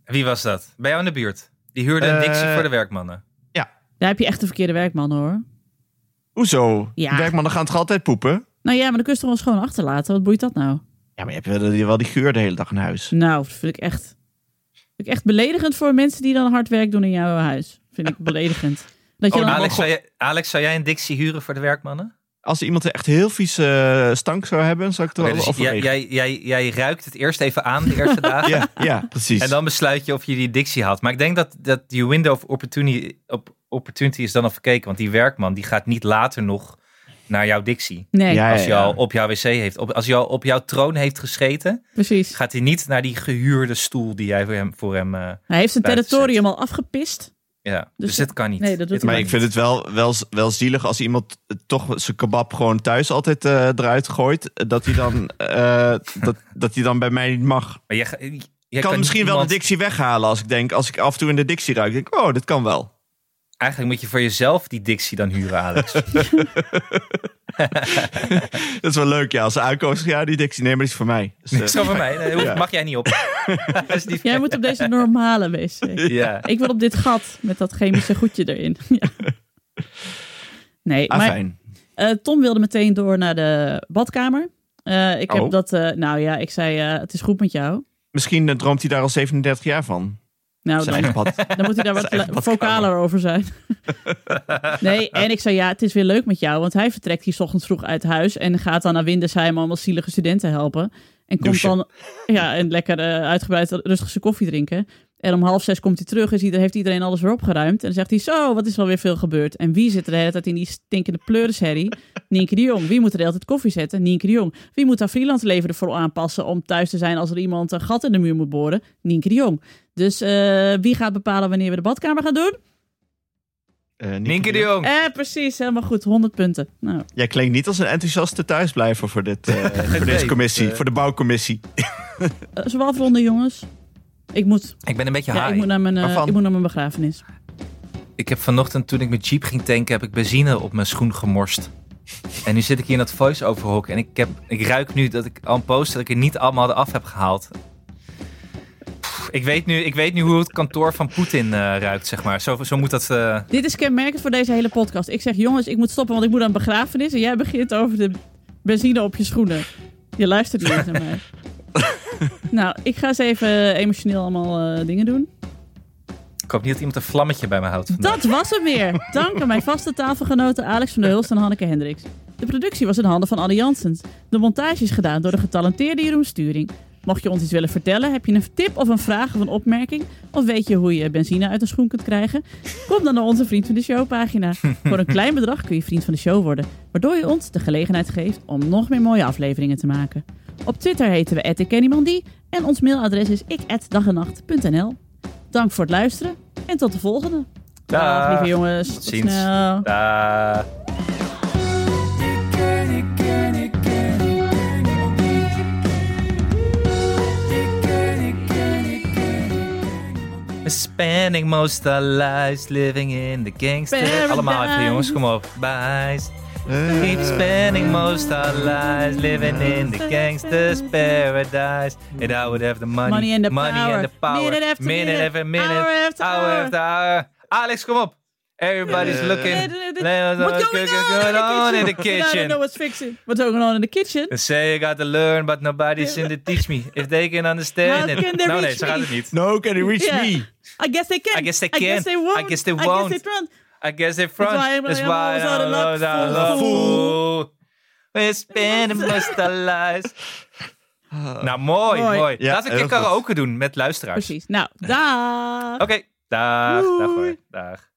Speaker 1: Wie was dat? Bij jou in de buurt? Die huurde een
Speaker 3: Eh,
Speaker 1: dictie voor de werkmannen.
Speaker 2: daar heb je echt de verkeerde werkmannen hoor.
Speaker 3: Hoezo?
Speaker 2: Ja.
Speaker 3: Werkmannen gaan toch altijd poepen?
Speaker 2: Nou ja, maar dan kun je ze toch wel schoon achterlaten. Wat boeit dat nou?
Speaker 3: Ja, maar je hebt wel, die- wel die geur de hele dag in huis.
Speaker 2: Nou, dat vind ik echt... Vind ik echt beledigend voor mensen die dan hard werk doen in jouw huis. Vind
Speaker 3: (laughs)
Speaker 2: ik beledigend. Dat je dan...
Speaker 3: Oh, nou,
Speaker 1: Alex, zou jij, Alex, zou jij een Dixie huren voor de werkmannen?
Speaker 3: Als iemand echt heel vies eh, stank zou hebben, zou ik het
Speaker 1: Oké,
Speaker 3: wel
Speaker 1: dus jij, jij,
Speaker 3: overwegen.
Speaker 1: jij, jij ruikt het eerst even aan de
Speaker 3: (laughs)
Speaker 1: eerste dagen.
Speaker 3: Ja, ja, precies.
Speaker 1: En dan besluit je of je die Dixie haalt. Maar ik denk dat, dat die window of opportunity, op, opportunity is dan al verkeken. Want die werkman die gaat niet later nog naar jouw Dixie.
Speaker 2: Nee,
Speaker 3: Ja,
Speaker 1: Als hij
Speaker 3: ja.
Speaker 1: al op jouw wc heeft. Op, als hij al op jouw troon heeft gescheten,
Speaker 2: precies.
Speaker 1: gaat hij niet naar die gehuurde stoel die jij voor hem. Voor hem eh,
Speaker 2: Hij heeft het
Speaker 1: Buiten
Speaker 2: territorium al afgepist.
Speaker 1: ja. Dus,
Speaker 2: Dus
Speaker 1: dit kan niet.
Speaker 2: Nee, dat doet hij
Speaker 3: maar
Speaker 2: niet.
Speaker 3: ik vind het wel, wel, wel zielig als iemand toch zijn kebab gewoon thuis altijd eh, eruit gooit. Dat hij dan, eh, dat, dat hij dan bij mij niet mag.
Speaker 1: Maar jij, ga- jij
Speaker 3: Ik kan,
Speaker 1: niet
Speaker 3: misschien wel
Speaker 1: iemand-
Speaker 3: de dictie weghalen als ik denk, als ik af en toe in de dictie ruik, denk ik, oh, dit kan wel.
Speaker 1: Eigenlijk moet je voor jezelf die Dixie dan huren,
Speaker 3: (laughs)
Speaker 1: Alex.
Speaker 3: Dat is wel leuk, ja. Als ze aankomen, zeg ik, ja, die dictie, nee, maar die is voor mij. Dus, eh,
Speaker 1: Zo van mij. Nee, hoef-
Speaker 3: Ja.
Speaker 1: Mag jij
Speaker 3: (laughs)
Speaker 1: niet op. Alsjeblieft.
Speaker 2: Jij moet op deze normale wc.
Speaker 1: ja.
Speaker 2: Ik wil op dit gat met dat chemische goedje erin. (laughs) Ja. Nee,
Speaker 3: ah,
Speaker 2: maar
Speaker 3: fijn.
Speaker 2: eh, Tom wilde meteen door naar de badkamer. Eh, ik
Speaker 3: Oh.
Speaker 2: heb dat, eh, nou ja, ik zei, eh, het is goed met jou.
Speaker 3: Misschien eh, droomt hij daar al 37 jaar van.
Speaker 2: Nou,
Speaker 3: Zijn
Speaker 2: dan,
Speaker 3: eigen
Speaker 2: (laughs)
Speaker 3: pad.
Speaker 2: dan moet hij
Speaker 3: (laughs)
Speaker 2: daar wat
Speaker 3: Zijn
Speaker 2: la-
Speaker 3: eigen badkamer.
Speaker 2: vocaler over zijn. nee, en ik zei, ja, het is weer leuk met jou. Want hij vertrekt hier 's ochtends vroeg uit huis en gaat dan naar Windesheim allemaal zielige studenten helpen. En komt
Speaker 3: Douchen.
Speaker 2: dan, ja, en lekker eh, uitgebreid rustig zijn koffie drinken. En om half zes komt hij terug, is ieder, heeft iedereen alles weer opgeruimd. En dan zegt hij, zo, wat is er weer veel gebeurd? En wie zit er de hele tijd in die stinkende pleurisherrie? Nienke de Jong. Wie moet er de hele tijd koffie zetten? Nienke de Jong. Wie moet haar freelance leven ervoor aanpassen om thuis te zijn als er iemand een gat in de muur moet boren? Nienke de Jong. Dus eh, wie gaat bepalen wanneer we de badkamer gaan doen?
Speaker 3: Eh, Nienke
Speaker 1: Nienke de
Speaker 3: Jong.
Speaker 1: Jong.
Speaker 2: (laughs) Eh, precies, helemaal goed. 100 punten. Nou,
Speaker 3: Jij klinkt niet als een enthousiaste thuisblijver voor, dit, eh, voor deze
Speaker 1: Nee,
Speaker 3: commissie,
Speaker 1: eh.
Speaker 3: voor de bouwcommissie.
Speaker 2: eh, zullen we afronden, jongens? Ik moet,
Speaker 1: Ik ben een beetje
Speaker 2: ja, ik,
Speaker 1: high.
Speaker 2: moet naar mijn, eh,
Speaker 3: Waarvan?
Speaker 2: ik moet naar mijn begrafenis.
Speaker 1: Ik heb vanochtend, toen ik mijn jeep ging tanken, heb ik benzine op mijn schoen gemorst. En nu zit ik hier in dat voice-over hok en ik, heb, ik ruik nu dat ik al een post dat ik er niet allemaal af heb gehaald. Pff, Ik weet, nu, ik weet nu hoe het kantoor van Poetin eh, ruikt, zeg maar. Zo, zo moet dat... eh,
Speaker 2: Dit is kenmerkend voor deze hele podcast. Ik zeg, jongens, ik moet stoppen, want ik moet aan een begrafenis. En jij begint over de benzine op je schoenen. Je luistert niet eens naar mij. nou, ik ga eens even emotioneel allemaal eh, dingen doen.
Speaker 1: ik hoop niet dat iemand een vlammetje bij me houdt. vandaag.
Speaker 2: Dat was het weer. Dank aan mijn vaste tafelgenoten Alex van der Hulst en Hanneke Hendricks. De productie was in handen van Anne Janssens. De montage is gedaan door de getalenteerde Jeroen Sturing. Mocht je ons iets willen vertellen, heb je een tip of een vraag of een opmerking? Of weet je hoe je benzine uit een schoen kunt krijgen? Kom dan naar onze Vriend van de Show pagina. Voor een klein bedrag kun je Vriend van de Show worden. Waardoor je ons de gelegenheid geeft om nog meer mooie afleveringen te maken. Op Twitter heten we @ikkenniemandie en ons mailadres is ik@dagennacht.nl. Dank voor het luisteren en tot de volgende. Dag,
Speaker 1: Dag.
Speaker 2: lieve jongens. Tot
Speaker 1: ziens.
Speaker 2: snel.
Speaker 1: Daag. We're spending most our lives living in the gangster.
Speaker 2: Paradise.
Speaker 1: Allemaal even jongens, kom op. Bye. Keep spending most our lives living in the gangster's paradise. And I would have the money,
Speaker 2: Money and the power.
Speaker 1: and the power.
Speaker 2: Minute after minute,
Speaker 1: after minute,
Speaker 2: hour after
Speaker 1: hour
Speaker 2: hour.
Speaker 1: after hour. Alex, kom op. Everybody's
Speaker 3: Eh.
Speaker 1: looking.
Speaker 2: What's going
Speaker 1: Going
Speaker 2: on in the kitchen? I don't
Speaker 1: kitchen?
Speaker 2: know what's fixing. What's going on in the kitchen?
Speaker 1: They say you got to learn, but nobody's in to teach me. If they can understand
Speaker 2: How
Speaker 1: it.
Speaker 2: can they
Speaker 1: nou nee,
Speaker 2: reach
Speaker 1: zo gaat
Speaker 2: me?
Speaker 1: het niet.
Speaker 3: No, can you reach
Speaker 2: Yeah.
Speaker 3: me?
Speaker 2: I guess they can.
Speaker 1: I guess they
Speaker 2: I
Speaker 1: can.
Speaker 2: guess they won't.
Speaker 1: I guess they
Speaker 2: I
Speaker 1: won't.
Speaker 2: guess they won't.
Speaker 1: I guess they're front.
Speaker 2: why I'm-
Speaker 1: That's
Speaker 2: I'm
Speaker 1: why
Speaker 2: always out of luck,
Speaker 1: out of luck, fool.
Speaker 2: fool.
Speaker 1: We're spending most our lives. Nou, mooi,
Speaker 2: Mooi.
Speaker 1: mooi.
Speaker 3: Ah. Ja,
Speaker 1: Laten we een
Speaker 3: heel
Speaker 1: keer (laughs)
Speaker 3: goed.
Speaker 1: karaoke doen met luisteraars.
Speaker 2: Precies. Nou, daag.
Speaker 1: Oké, dag, dag hoor,
Speaker 2: Doei.
Speaker 1: dag.